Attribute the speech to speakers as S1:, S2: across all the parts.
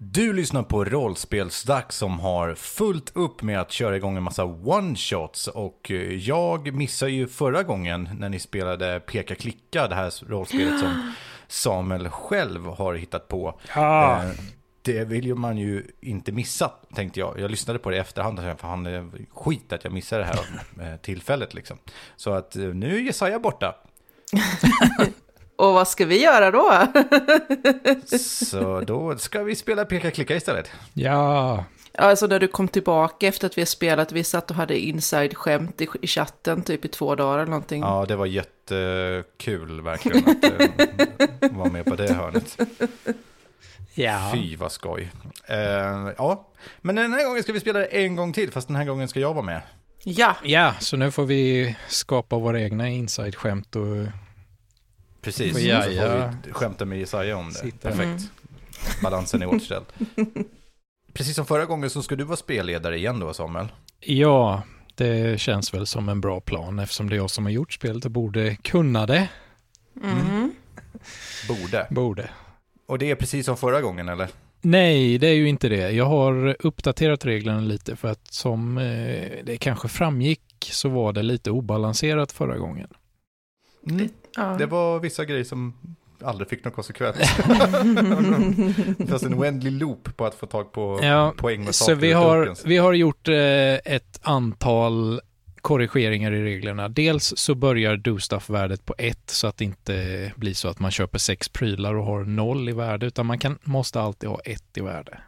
S1: Du lyssnar på Rollspelsdags som har fullt upp med att köra igång en massa one-shots och eh, jag missade ju förra gången när ni spelade Peka Klicka, det här rollspelet som Samuel själv har hittat på.
S2: Ja.
S1: Eh, Det vill ju man ju inte missa, tänkte jag. Jag lyssnade på det i efterhand, för han eh, skit att jag missade det här eh, tillfället liksom. Så att eh, nu är Jesaja borta.
S3: Och vad ska vi göra då?
S1: Så då ska vi spela Peka Klicka istället.
S2: Ja.
S3: Alltså när du kom tillbaka efter att vi har spelat, vi satt och hade inside-skämt i, i chatten typ i två dagar eller någonting.
S1: Ja, det var jättekul verkligen att eh, vara med på det hörnet.
S2: Ja.
S1: Fy vad skoj. Eh, ja, men den här gången ska vi spela det en gång till, fast den här gången ska jag vara med.
S3: Ja,
S2: ja, så nu får vi skapa våra egna inside-skämt och
S1: Precis,
S2: Och
S1: så
S2: Jaja.
S1: får vi skämta med Jesaja om det.
S2: Sitta. Mm.
S1: Perfekt. Balansen är återställd. Precis som förra gången så ska du vara spelledare igen då, Samuel.
S2: Ja, det känns väl som en bra plan eftersom det är jag som har gjort spelet och borde kunna det.
S1: Mm.
S3: Mm-hmm.
S1: Borde.
S2: Borde.
S1: Och det är precis som förra gången, eller?
S2: Nej, det är ju inte det. Jag har uppdaterat reglerna lite för att som eh, det kanske framgick så var det lite obalanserat förra gången. Mm.
S3: ja.
S1: Det var vissa grejer som aldrig fick någon konsekvens. Fast en oändlig loop på att få tag på
S2: Ja,
S1: poäng med
S2: Så
S1: saker
S2: vi
S1: ur
S2: har,
S1: dunken.
S2: vi har gjort eh, ett antal korrigeringar i reglerna. Dels så börjar do stuff-värdet på 1 så att det inte blir så att man köper sex prylar och har noll i värde utan man kan, måste alltid ha ett i värde.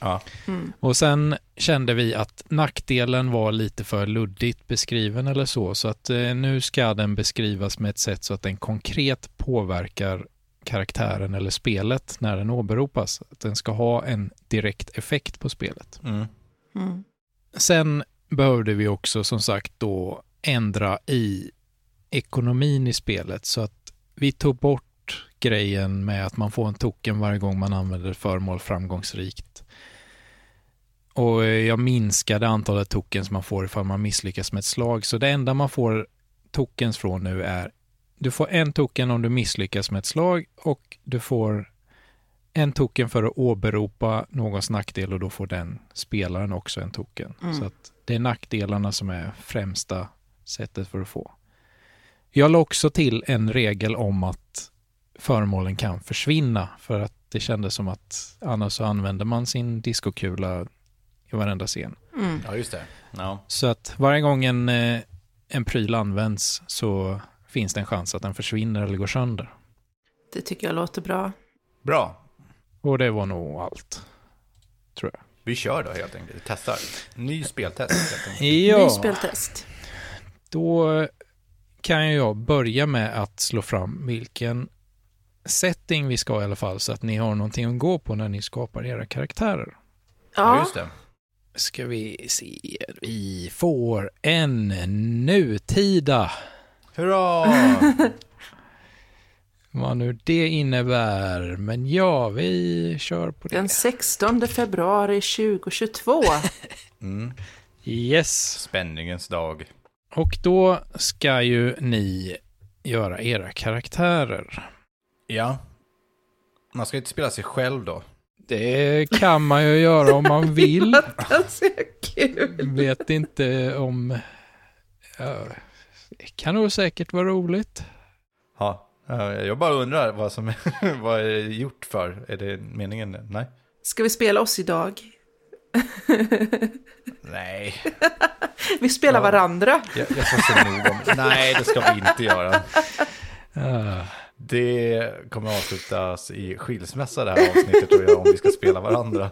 S1: Ja.
S3: Mm.
S2: Och sen kände vi att nackdelen var lite för luddigt beskriven eller så så att eh, nu ska den beskrivas med ett sätt så att den konkret påverkar karaktären eller spelet när den åberopas. Att den ska ha en direkt effekt på spelet.
S1: Mm.
S3: Mm.
S2: Sen behövde vi också som sagt då ändra i ekonomin i spelet så att vi tog bort grejen med att man får en token varje gång man använder ett föremål framgångsrikt. Och eh, jag minskade antalet tokens man får ifall man misslyckas med ett slag. Så det enda man får tokens från nu är du får en token om du misslyckas med ett slag och du får en token för att åberopa någons nackdel och då får den spelaren också en token.
S3: Mm.
S2: Så att det är nackdelarna som är främsta sättet för att få. Jag la också till en regel om att föremålen kan försvinna för att det kändes som att annars så använder man sin diskokula i varenda scen.
S3: Mm.
S1: ja, just det. Ja.
S2: Så att varje gång en, eh, en pryl används så finns det en chans att den försvinner eller går sönder.
S3: Det tycker jag låter bra.
S1: Bra,
S2: Och det var nog allt.
S1: vi kör då helt enkelt. Vi testar. Ny speltest helt enkelt.
S3: Ny
S2: Ja,
S3: speltest.
S2: då kan jag börja med att slå fram vilken setting vi ska ha i alla fall så att ni har någonting att gå på när ni skapar era karaktärer.
S1: Ja,
S3: Ja,
S1: just det.
S2: ska vi se. Vi får en nutida.
S1: Hurra!
S2: Vad nu det innebär. Men ja, vi kör på
S3: den
S2: det.
S3: 16 februari 2022.
S1: Mm.
S2: Yes.
S1: Spänningens dag.
S2: Och då ska ju ni göra era karaktärer.
S1: Ja. Man ska inte spela sig själv då.
S2: Det kan man ju göra om man vill.
S3: Alltså, kul.
S1: Mm.
S2: Vet inte om... Ja, det kan nog säkert vara roligt.
S1: Ja. Eh, Jag bara undrar vad som vad är det gjort för. Är det meningen? Nej.
S3: Ska vi spela oss idag?
S1: Nej,
S3: Vi spelar
S1: Ja.
S3: varandra.
S1: jag, jag får se nog om. Nej, det ska vi inte göra.
S2: Ah.
S1: Det kommer avslutas i skilsmässa det här avsnittet tror jag om vi ska spela varandra.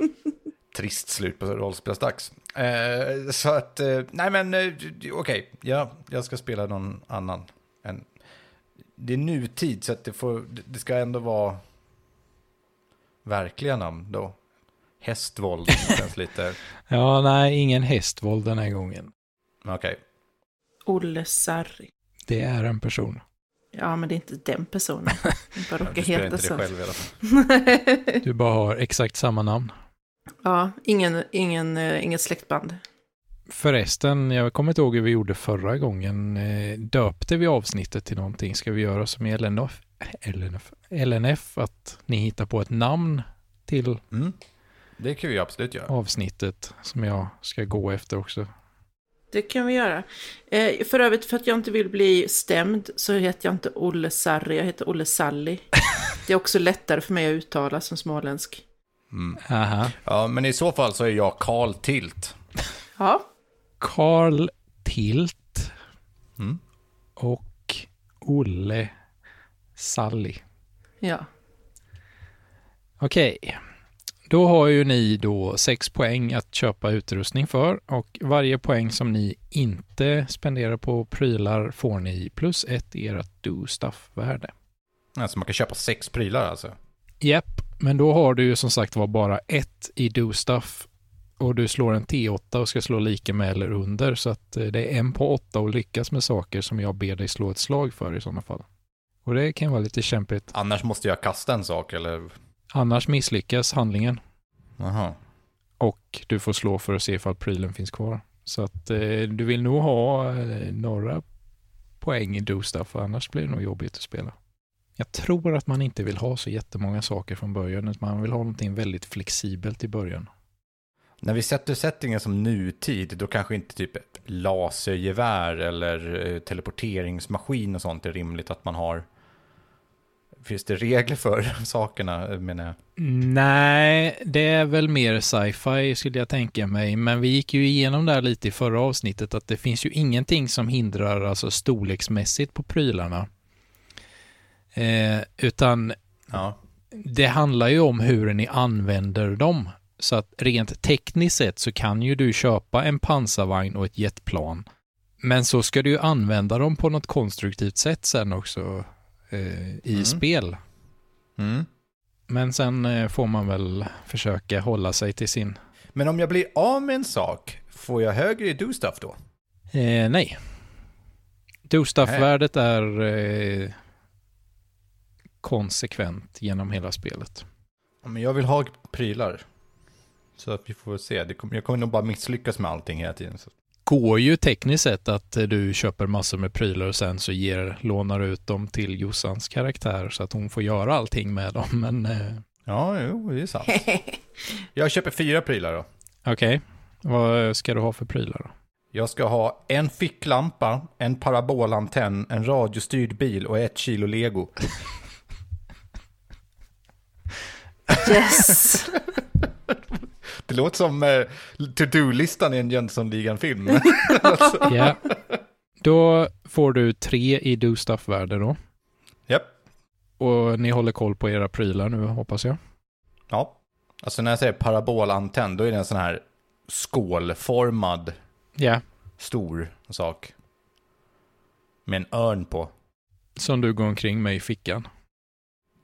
S1: Trist slut på rollspelsdags. Eh, så att, eh, nej men eh, okej, ja, jag ska spela någon annan. Än. Det är nutid så att det, får, det ska ändå vara verkliga namn då. Hästvåld känns lite,
S2: Ja, nej, ingen hästvåld den här gången.
S1: men okej.
S3: Olle Sarri.
S2: Det är en person.
S3: Ja, men det är inte den personen. Den bara
S1: Du
S3: råkar
S1: spelar
S3: heta
S1: inte
S3: så.
S1: det själv i alla fall.
S2: Du bara har exakt samma namn.
S3: ja, ingen, ingen, eh, inget släktband.
S2: Förresten, jag kommer inte ihåg hur vi gjorde förra gången. Eh, Döpte vi avsnittet till någonting? Ska vi göra som i LNF, LNF, LNF att ni hittar på ett namn till
S1: Mm. Det kan vi ju absolut göra.
S2: avsnittet som jag ska gå efter också.
S3: Det kan vi göra. Eh, för övrigt, för att jag inte vill bli stämd så heter jag inte Olle Sarri, jag heter Olle Salli. Det är också lättare för mig att uttala som småländsk.
S2: Aha.
S1: Ja, men i så fall så är jag Karl Tilt.
S3: Ja,
S2: Karl Tilt och Olle Sally.
S3: ja.
S2: Okej, då har ju ni då sex poäng att köpa utrustning för och varje poäng som ni inte spenderar på prylar får ni plus ett i ert do stuff-värde.
S1: Alltså man kan köpa sex prylar alltså.
S2: Japp, men då har du ju som sagt var bara ett i do stuff och du slår en T8 och ska slå lika med eller under så att eh, det är en på åtta och lyckas med saker som jag ber dig slå ett slag för i sådana fall. Och det kan vara lite kämpigt.
S1: Annars måste jag kasta en sak eller...
S2: Annars misslyckas handlingen
S1: Jaha.
S2: och du får slå för att se ifall prylen finns kvar. Så att eh, du vill nog ha eh, några poäng i do stuff för annars blir det nog jobbigt att spela. Jag tror att man inte vill ha så jättemånga saker från början utan man vill ha någonting väldigt flexibelt i början.
S1: När vi sätter settingen som nutid, då kanske inte typ ett lasergevär eller eh, teleporteringsmaskin och sånt är rimligt att man har. Finns det regler för sakerna, eh, menar jag?
S2: Nej, det är väl mer sci-fi skulle jag tänka mig. Men vi gick ju igenom där lite i förra avsnittet att det finns ju ingenting som hindrar alltså storleksmässigt på prylarna. Eh, utan
S1: Ja.
S2: det handlar ju om hur ni använder dem. Så att rent tekniskt sett så kan ju du köpa en pansarvagn och ett jetplan. Men så ska du ju använda dem på något konstruktivt sätt sen också eh, i
S1: Mm.
S2: spel.
S1: Mm.
S2: Men sen eh, får man väl försöka hålla sig till sin.
S1: Men om jag blir av med en sak, får jag högre i do stuff då?
S2: Eh, nej. Do stuff-värdet är eh, konsekvent genom hela spelet.
S1: Ja, Men jag vill ha prylar. Så att vi får väl se. Det kommer, jag kommer nog bara misslyckas med allting hela tiden. Så.
S2: Går ju tekniskt sett att eh, du köper massor med prylar och sen så ger, lånar ut dem till Jossans karaktär så att hon får göra allting med dem. Men eh,
S1: Ja, jo, det är sant. jag köper fyra prylar då.
S2: okej, vad ska du ha för prylar då?
S1: Jag ska ha en ficklampa, en parabolantenn, en radiostyrd bil och ett kilo lego.
S3: Yes!
S1: Det låter som eh, to-do-listan i en Jönssonligan-film. Alltså,
S2: Ja, då får du tre i do stuff-värde då.
S1: Japp.
S2: Och ni håller koll på era prylar nu hoppas jag.
S1: Ja. Alltså när jag säger parabolantenn, då är det en sån här skålformad
S2: Ja.
S1: stor sak. Med en örn på.
S2: Som du går omkring med i fickan.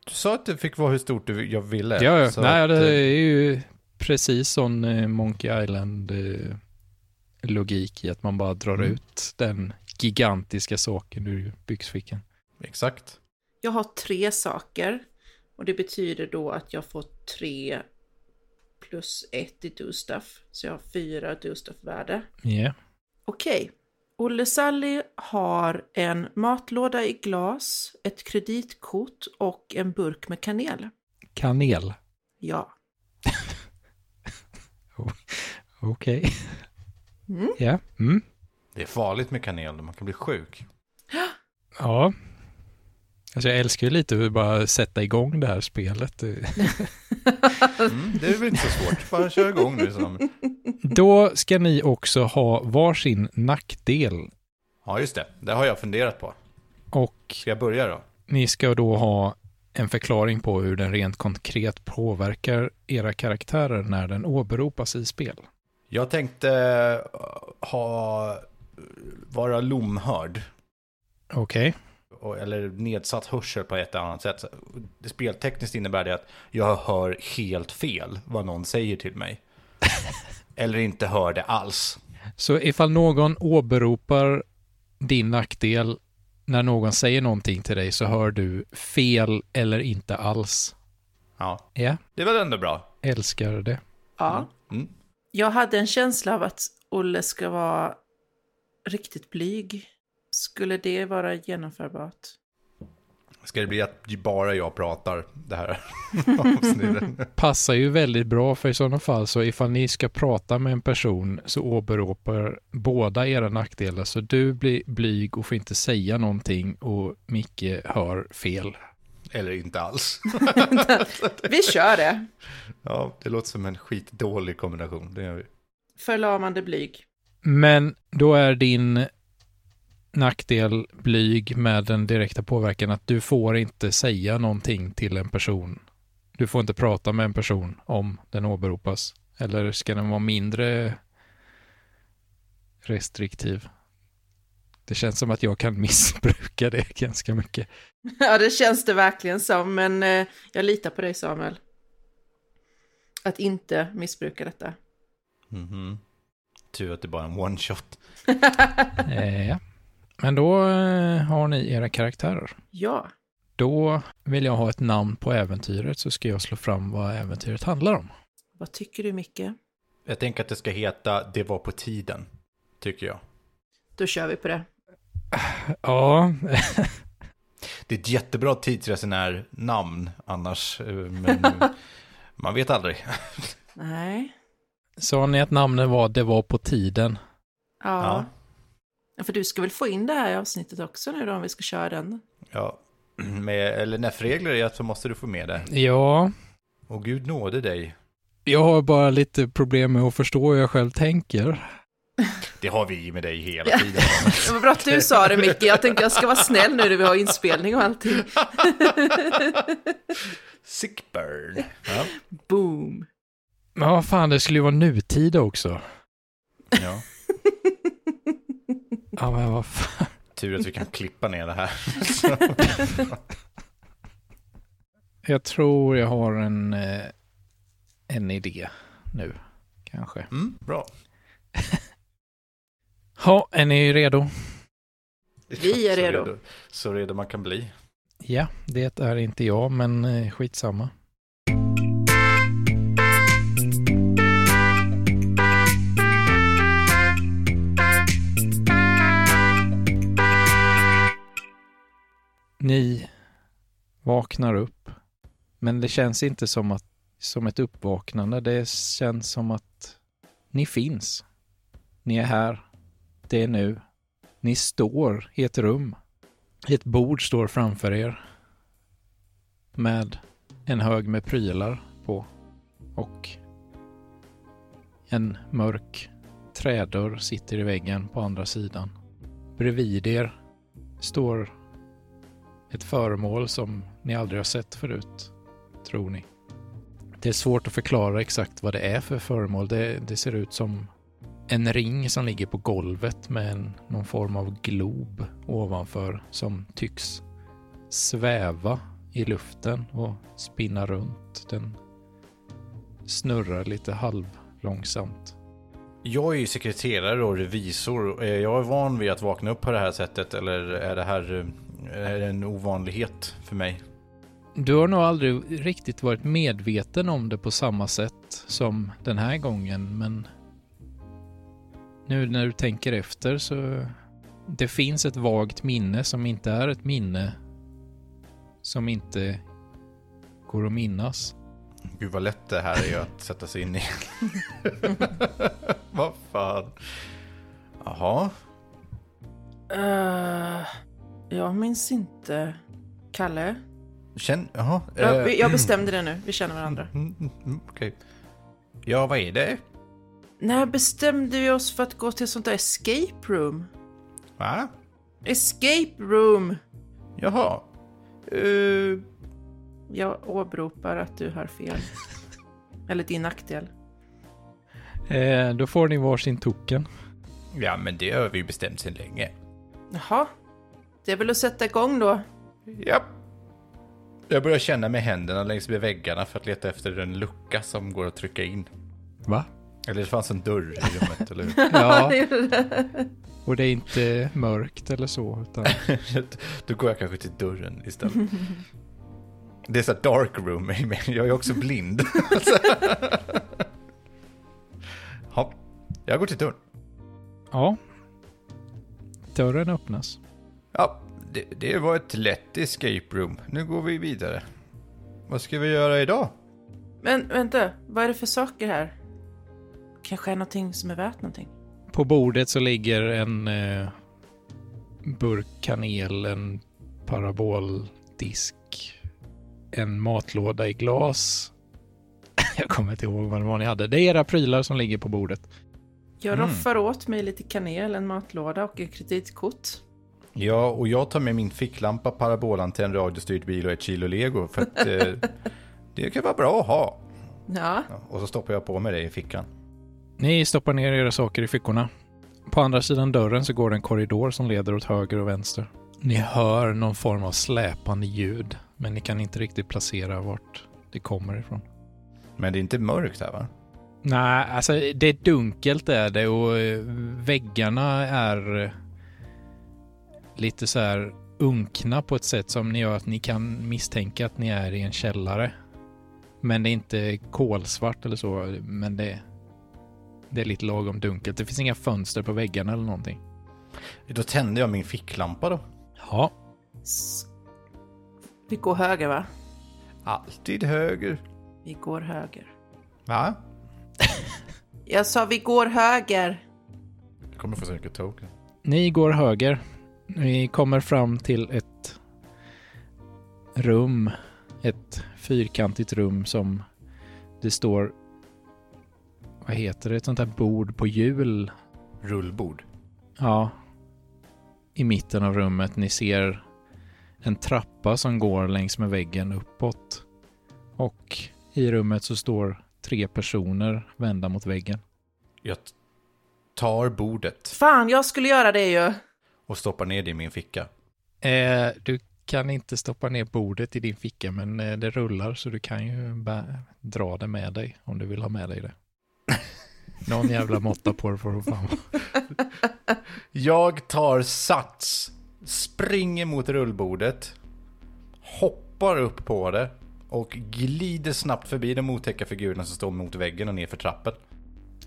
S1: Du sa att det fick vara hur stort du, jag ville.
S2: Ja, ja.
S1: Så
S2: Nej,
S1: att,
S2: det
S1: eh,
S2: är ju precis sån eh, Monkey Island-logik i att man bara drar
S1: Mm.
S2: ut den gigantiska saken ur byxfickan.
S1: Exakt.
S3: Jag har tre saker och det betyder då att jag får tre plus ett i do stuff. Så jag har fyra do stuff-värde.
S2: Ja,
S3: Okej. Olle Sally har en matlåda i glas, ett kreditkort och en burk med kanel.
S2: kanel.
S3: Ja.
S2: Okej.
S3: Mm.
S2: Ja. Mm.
S1: Det är farligt med kanel, man kan bli sjuk.
S2: Ja. Alltså jag älskar ju lite hur bara sätta igång det här spelet.
S1: Mm, det är väl inte så svårt, bara kör igång nu. Som.
S2: Då ska ni också ha varsin nackdel
S1: Ja, just det. Det har jag funderat på.
S2: och
S1: Ska jag börja då?
S2: Ni ska då ha en förklaring på hur den rent konkret påverkar era karaktärer när den åberopas i spel.
S1: Jag tänkte eh, ha, vara lomhörd.
S2: Okej.
S1: och- eller nedsatt hörsel på ett eller annat sätt. Det Speltekniskt innebär det att jag hör helt fel vad någon säger till mig. eller inte hör det alls.
S2: Så ifall någon åberopar din nackdel när någon säger någonting till dig så hör du fel eller inte alls.
S1: Ja,
S2: Ja,
S1: det var ändå bra.
S2: älskar det.
S3: ja.
S1: Mm.
S3: Jag hade en känsla av att Olle ska vara riktigt blyg. Skulle det vara genomförbart?
S1: Ska det bli att bara jag pratar det här avsnittet?
S2: Passar ju väldigt bra för i sådana fall så ifall ni ska prata med en person så åberopar båda era nackdelar. Så du blir blyg och får inte säga någonting och Micke hör fel.
S1: Eller inte alls.
S3: Vi kör det.
S1: Ja, det låter som en skitdålig kombination. Det gör vi.
S3: Förlamande blyg.
S2: Men då är din nackdel blyg med den direkta påverkan att du får inte säga någonting till en person. Du får inte prata med en person om den åberopas. Eller ska den vara mindre restriktiv? Det känns som att jag kan missbruka det ganska mycket.
S3: Ja, det känns det verkligen som, men eh, jag litar på dig Samuel. Att inte missbruka detta.
S1: Mhm. Tur att det bara är en one shot.
S2: Eh, ja. Men då eh, har ni era karaktärer.
S3: Ja,
S2: Då vill jag ha ett namn på äventyret så ska jag slå fram vad äventyret handlar om.
S3: vad tycker du Micke?
S1: Jag tänker att det ska heta Det var på tiden, tycker jag.
S3: Då kör vi på det.
S2: Ja,
S1: Det är ett jättebra tidsresenär-namn annars, eh, men man vet aldrig.
S3: Nej.
S2: sa ni att namnen var Det var på tiden?
S3: Ja. ja. För du ska väl få in det här i avsnittet också nu då om vi ska köra den?
S1: Ja, med LNF-regler är att så måste du få med det.
S2: Ja,
S1: Och gud nåde dig.
S2: jag har bara lite problem med att förstå hur jag själv tänker.
S1: Det har vi med dig hela tiden.
S3: Det var bra att du sa det Micke, jag tänkte jag ska vara snäll nu när vi har inspelning och allting.
S1: Sick burn. Ja.
S3: Boom.
S2: Men vad fan, det skulle ju vara nutida också.
S1: ja.
S2: Ja, men vad fan.
S1: Tur att vi kan klippa ner det här.
S2: Jag tror jag har en, eh, en idé nu, kanske.
S1: Mm, bra.
S2: Ja, är ni redo?
S3: Vi är
S1: Så
S3: redo.
S1: Så redo man kan bli.
S2: Ja, det är inte jag, men eh, skitsamma. Ni vaknar upp, men det känns inte som, att, som ett uppvaknande. Det känns som att ni finns. Ni är här. Det är nu. Ni står i ett rum. Ett bord står framför er med en hög med prylar på och en mörk trädörr sitter i väggen på andra sidan. Bredvid er står ett föremål som ni aldrig har sett förut, tror ni. Det är svårt att förklara exakt vad det är för föremål. Det, det ser ut som en ring som ligger på golvet med en, någon form av glob ovanför som tycks sväva i luften och spinna runt. Den snurrar lite halvlångsamt.
S1: Jag är ju sekreterare och revisor. Eh, Jag är van vid att vakna upp på det här sättet. Eller är det här eh, är det en ovanlighet för mig?
S2: Du har nog aldrig riktigt varit medveten om det på samma sätt som den här gången, men nu när du tänker efter så det finns ett vagt minne som inte är ett minne som inte går att minnas.
S1: Gud vad lätt det här är att sätta sig in i. vad fan. Jaha.
S3: Eh, jag minns inte. Kalle?
S1: Känn, jaha.
S3: Jag,
S1: eh,
S3: jag bestämde det nu, vi känner varandra.
S1: mm, mm, mm, Okej. Ja, vad är det?
S3: När bestämde vi oss för att gå till sånt där escape room?
S1: Va?
S3: Escape room!
S1: Jaha. Eh,
S3: Jag åberopar att du har fel. Eller din nackdel.
S2: Eh, då får ni varsin token.
S1: ja, men det har vi ju bestämt sedan länge.
S3: Jaha. Det är väl att sätta igång då.
S1: Japp. Jag börjar känna med händerna längs med väggarna för att leta efter en lucka som går att trycka in.
S2: Va?
S1: Eller det fanns en dörr i rummet, eller hur?
S2: Ja, och det är inte mörkt eller så, utan
S1: Då går jag kanske till dörren istället. Det är så här dark room i mig, jag är också blind. Ja, jag går till dörren.
S2: ja. Dörren öppnas.
S1: Ja, det, det var ett lätt escape room. Nu går vi vidare. Vad ska vi göra idag?
S3: Men vänta, vad är det för saker här? Kanske är någonting som är värt någonting?
S2: På bordet så ligger en eh, burk kanel, en paraboldisk, en matlåda i glas. Jag kommer inte ihåg vad det var ni hade. Det är era prylar som ligger på bordet.
S3: Jag
S1: Mm.
S3: roffar åt mig lite kanel, en matlåda och ett kreditkort.
S1: Ja, och jag tar med min ficklampa, parabolantenn, radiostyrd bil och ett kilo lego. För att eh, det kan vara bra att ha.
S3: Ja,
S1: Ja, Och så stoppar jag på mig det i fickan.
S2: Ni stoppar ner era saker i fickorna. På andra sidan dörren så går det en korridor som leder åt höger och vänster. Ni hör någon form av släpande ljud, men ni kan inte riktigt placera vart det kommer ifrån.
S1: Men det är inte mörkt här va?
S2: Nej, alltså det är dunkelt är det och eh, väggarna är eh, lite så här unkna på ett sätt som ni gör att ni kan misstänka att ni är i en källare. Men det är inte kolsvart eller så, men det, det är lite lagom dunkelt. Det finns inga fönster på väggarna eller någonting.
S1: Då tände jag min ficklampa då.
S2: Ja,
S3: S- vi går höger va?
S1: Alltid höger.
S3: Vi går höger.
S1: Va?
S3: Jag sa vi går höger.
S1: Jag kommer få så mycket token.
S2: Ni går höger. Ni kommer fram till ett rum. Ett fyrkantigt rum som det står... Vad heter det? Ett sånt här bord på hjul.
S1: Rullbord.
S2: Ja. I mitten av rummet. Ni ser en trappa som går längs med väggen uppåt. Och i rummet så står tre personer vända mot väggen.
S1: Jag t- tar bordet
S3: Fan, jag skulle göra det ju.
S1: och stoppar ner det i min ficka.
S2: Eh, du kan inte stoppa ner bordet i din ficka, men eh, det rullar så du kan ju bä- dra det med dig om du vill ha med dig det. Någon jävla måtta på det får du fan.
S1: Jag tar sats, springer mot rullbordet, hoppar upp på det och glider snabbt förbi de otäcka figurerna som står mot väggen och ner för trappen.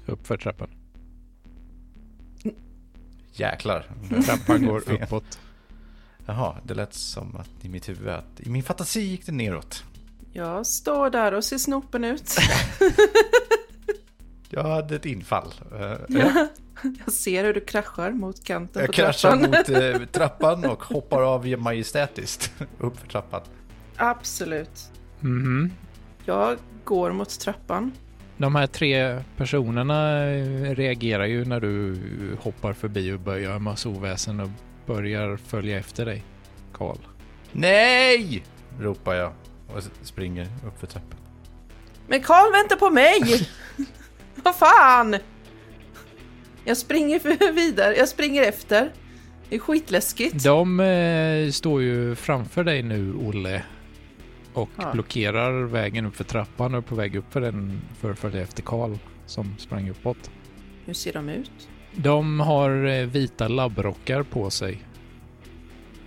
S2: Upp för trappan.
S1: Jäklar.
S2: Trappan går uppåt.
S1: Jaha, det lät som att i mitt huvud, att i min fantasi gick det neråt.
S3: Jag står där och ser snopen ut.
S1: Jag hade ett infall. Eh, Jag,
S3: Jag ser hur du kraschar mot kanten
S1: jag
S3: på
S1: kraschar
S3: trappan.
S1: mot eh, trappan och hoppar av majestätiskt upp för trappan.
S3: Absolut.
S2: Mhm.
S3: Jag går mot trappan.
S2: De här tre personerna eh, reagerar ju när du hoppar förbi och börjar göra en massa oväsen och börjar följa efter dig, Karl.
S1: Nej! ropar jag och s- springer upp för trappan.
S3: Men Karl väntar på mig! Vad fan! Jag springer för- vidare, jag springer efter. Det är skitläskigt.
S2: De eh, står ju framför dig nu, Olle, och
S3: Ja.
S2: blockerar vägen upp för trappan och är på väg upp för den för att följa efter Karl som sprang uppåt.
S3: Hur ser de ut?
S2: De har eh, vita labbrockar på sig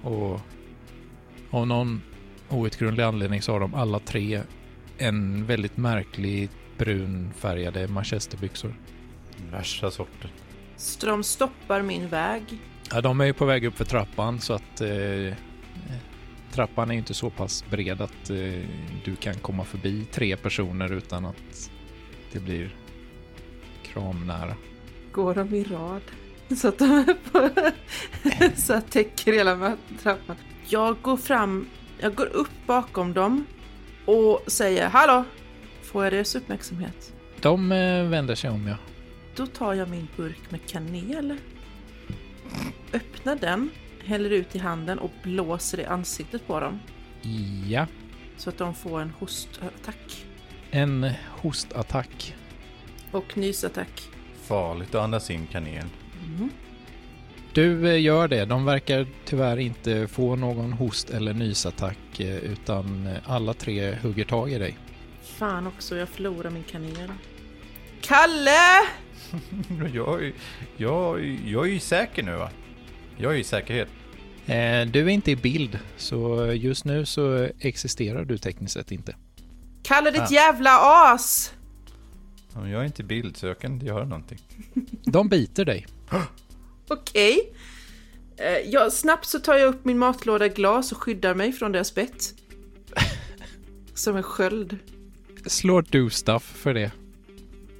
S2: och av någon outgrundlig anledning så har de alla tre en väldigt märklig brunfärgade manchesterbyxor.
S1: Värsta sorten.
S3: Så de stoppar min väg.
S2: Ja, de är ju på väg upp för trappan så att eh, trappan är ju inte så pass bred att eh, du kan komma förbi tre personer utan att det blir kramnära.
S3: Går de i rad? Så att de är på... så att täcker hela ma- trappan. Jag går fram, jag går upp bakom dem och säger hallå! Får jag deras uppmärksamhet?
S2: De eh, vänder sig om ja.
S3: Då tar jag min burk med kanel, öppnar den, häller ut i handen och blåser i ansiktet på dem
S2: Ja,
S3: så att de får en hostattack
S2: en hostattack.
S3: och nysattack.
S1: Farligt att andas in kanel.
S3: Mm.
S2: Du eh, gör det. De verkar tyvärr inte få någon host eller nysattack eh, utan eh, alla tre hugger tag i dig.
S3: Fan också, jag förlorar min kanel. Kalle!
S1: Jag, är- jag, är- jag är ju säker nu va? Jag är i säkerhet.
S2: Eh, Du är inte i bild så just nu så existerar du tekniskt sett inte.
S3: Kalle ditt jävla as!
S1: Jag är inte i bild så jag kan inte göra någonting.
S2: De biter dig.
S3: Okej. Eh, Jag, snabbt så tar jag upp min matlåda glas och skyddar mig från deras bett. Som en sköld.
S2: Slår du stuff för det.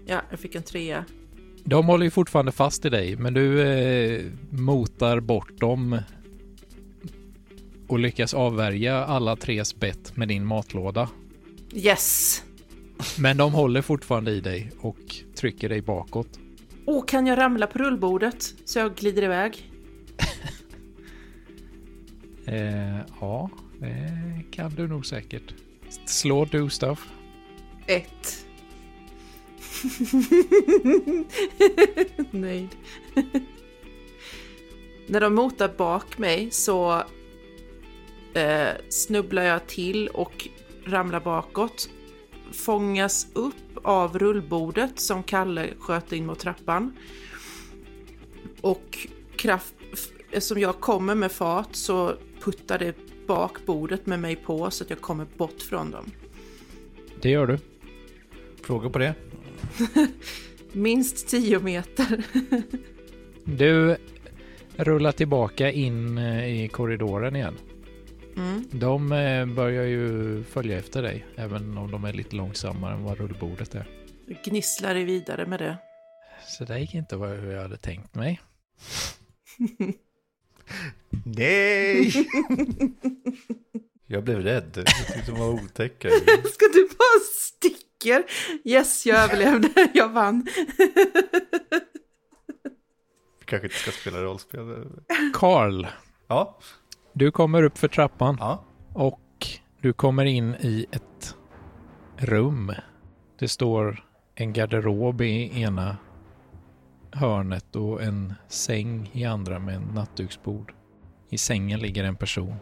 S3: Ja, jag fick en trea.
S2: De håller ju fortfarande fast i dig, men du eh, motar bort dem och lyckas avvärja alla tres bett med din matlåda.
S3: Yes!
S2: Men de håller fortfarande i dig och trycker dig bakåt.
S3: Åh, kan jag ramla på rullbordet så jag glider iväg?
S2: Eh, ja, det kan du nog säkert. Slår du stuff.
S3: Ett. Nöjd. När de motar bak mig så eh, snubblar jag till och ramlar bakåt. Fångas upp av rullbordet som Kalle sköt in mot trappan. Och kraft, f- eftersom jag kommer med fart så puttar det bak bordet med mig på så att jag kommer bort från dem.
S2: Det gör du.
S1: Frågor på det?
S3: Minst 10 meter.
S2: Du rullar tillbaka in eh, i korridoren igen.
S3: Mm.
S2: De eh, börjar ju följa efter dig, även om de är lite långsammare än vad rullbordet är.
S3: Jag gnisslar det vidare med det.
S2: Så det gick inte vad- hur jag hade tänkt mig.
S1: Nej! jag blev rädd. liksom Jag tyckte de var otäcka.
S3: Ska du bara sticker? Yes, jag överlevde. Jag vann.
S1: Vi kanske inte ska spela rollspel.
S2: Karl,
S1: Ja,
S2: du kommer upp för trappan
S1: ja.
S2: och du kommer in i ett rum. Det står en garderob i ena hörnet och en säng i andra med en nattduksbord. I sängen ligger en person.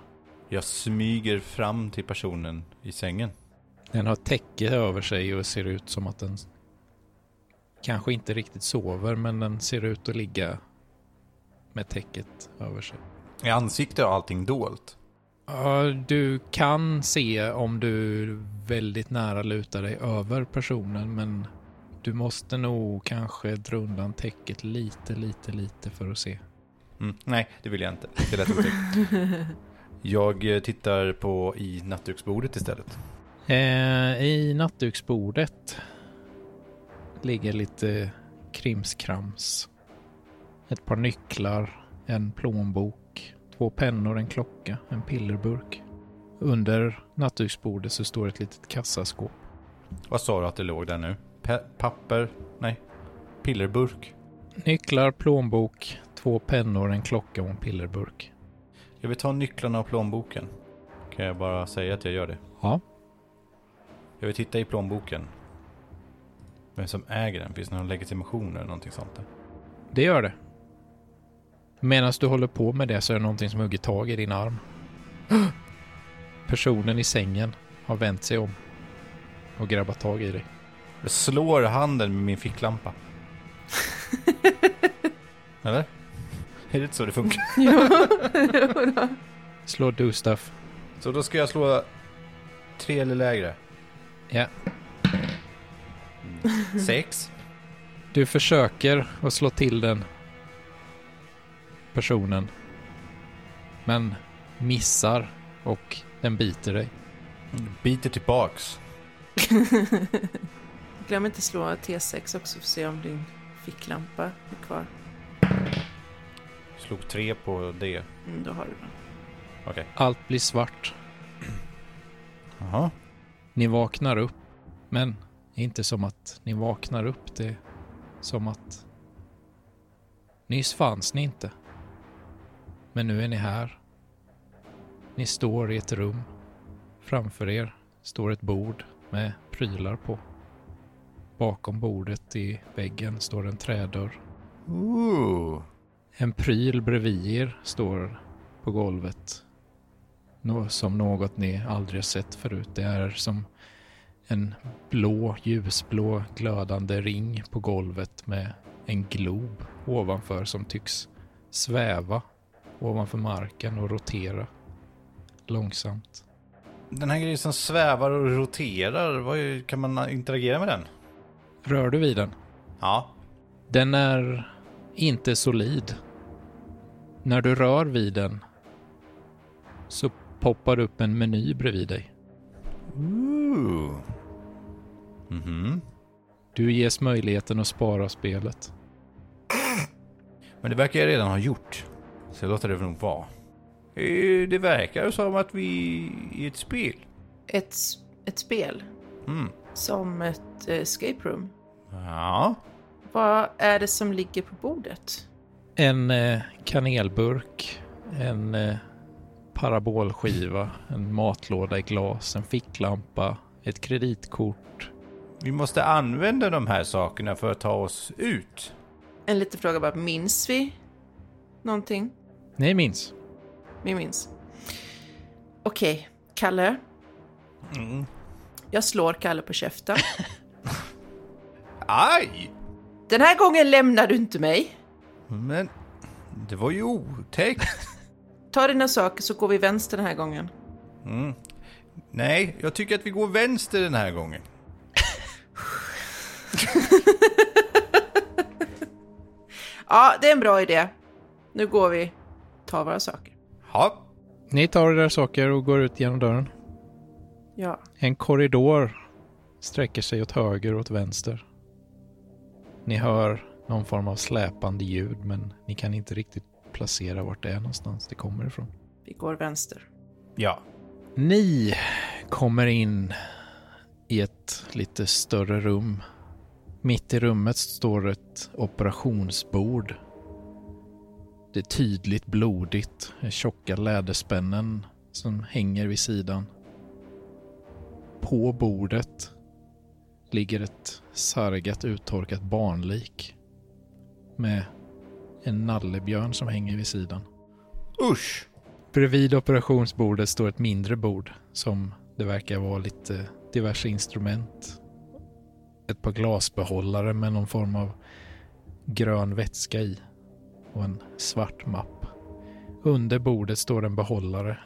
S1: Jag smyger fram till personen i sängen.
S2: Den har ett täcke över sig och ser ut som att den kanske inte riktigt sover, men den ser ut att ligga med täcket över sig.
S1: I ansikte och allting dolt.
S2: Ja, du kan se om du väldigt nära lutar dig över personen, men du måste nog kanske dra undan täcket lite, lite, lite för att se.
S1: Mm. Nej, det vill jag inte. Det lät otäckt. Jag eh, tittar på i nattduksbordet istället.
S2: Eh, I nattduksbordet ligger lite krimskrams. Ett par nycklar, en plånbok, två pennor, en klocka, en pillerburk. Under nattduksbordet så står ett litet kassaskåp.
S1: Vad sa du att det låg där nu? Pe- papper? Nej. Pillerburk?
S2: Nycklar, plånbok, två pennor, en klocka och en pillerburk.
S1: Jag vill ta nycklarna och plånboken. Kan jag bara säga att jag gör det?
S2: Ja.
S1: Jag vill titta i plånboken. Vem som äger den? Finns det någon legitimation eller någonting sånt där?
S2: Det gör det. Medan du håller på med det så är det någonting som hugger tag i din arm. Personen i sängen har vänt sig om och grabbat tag i dig.
S1: Jag slår handen med min ficklampa. eller? Är det inte så det funkar?
S2: Slå du stuff.
S1: Så då ska jag slå tre eller lägre.
S2: Ja.
S1: Sex.
S2: Du försöker att slå till den personen. Men missar och den biter dig.
S1: Biter tillbaks.
S3: Glöm inte slå T6 också för att se om din ficklampa är kvar.
S1: Slog tre på det.
S3: Mm, då har du den.
S1: Okej.
S2: Allt blir svart.
S1: Jaha.
S2: Ni vaknar upp. Men det är inte som att ni vaknar upp. Det är som att nyss fanns ni inte. Men nu är ni här. Ni står i ett rum. Framför er står ett bord med prylar på. Bakom bordet i väggen står en trädörr.
S1: Ooh.
S2: En pryl bredvid er står på golvet. Nå- Som något ni aldrig har sett förut. Det är som en blå, ljusblå glödande ring på golvet med en glob ovanför som tycks sväva ovanför marken och rotera långsamt.
S1: Den här grejen som svävar och roterar, vad är, kan man interagera med den?
S2: Rör du vid den?
S1: Ja.
S2: Den är inte solid. När du rör vid den så poppar det upp en meny bredvid dig.
S1: Ooh. Mhm.
S2: Du ges möjligheten att spara spelet.
S1: Men det verkar jag redan ha gjort. Så jag låter det nog vara. Eh, Det verkar som att vi i ett spel.
S3: Ett, s- ett spel.
S1: Mm.
S3: Som ett eh, escape room.
S1: Ja.
S3: Vad är det som ligger på bordet?
S2: En eh, kanelburk, en eh, parabolskiva, en matlåda i glas, en ficklampa, ett kreditkort.
S1: Vi måste använda de här sakerna för att ta oss ut.
S3: En liten fråga bara, minns vi någonting?
S2: Nej, minns.
S3: Vi minns. Okej, Kalle.
S1: Mm.
S3: Jag slår Kalle på käften.
S1: Aj!
S3: Den här gången lämnar du inte mig.
S1: Men det var ju otäckt.
S3: Ta dina saker så går vi vänster den här gången.
S1: Nej, jag tycker att vi går vänster den här gången.
S3: Ja, det är en bra idé. Nu går vi. Ta våra saker.
S1: Ja.
S2: Ni tar era saker och går ut genom dörren.
S3: Ja.
S2: En korridor sträcker sig åt höger och åt vänster. Ni hör någon form av släpande ljud men ni kan inte riktigt placera vart det är någonstans det kommer ifrån.
S3: Vi går vänster.
S1: Ja.
S2: Ni kommer in i ett lite större rum. Mitt i rummet står ett operationsbord. Det är tydligt blodigt, med tjocka läderspännen som hänger vid sidan. På bordet ligger ett sargat uttorkat barnlik med en nallebjörn som hänger vid sidan.
S1: Usch!
S2: Bredvid operationsbordet står ett mindre bord som det verkar vara lite diverse instrument. Ett par glasbehållare med någon form av grön vätska i och en svart mapp. Under bordet står en behållare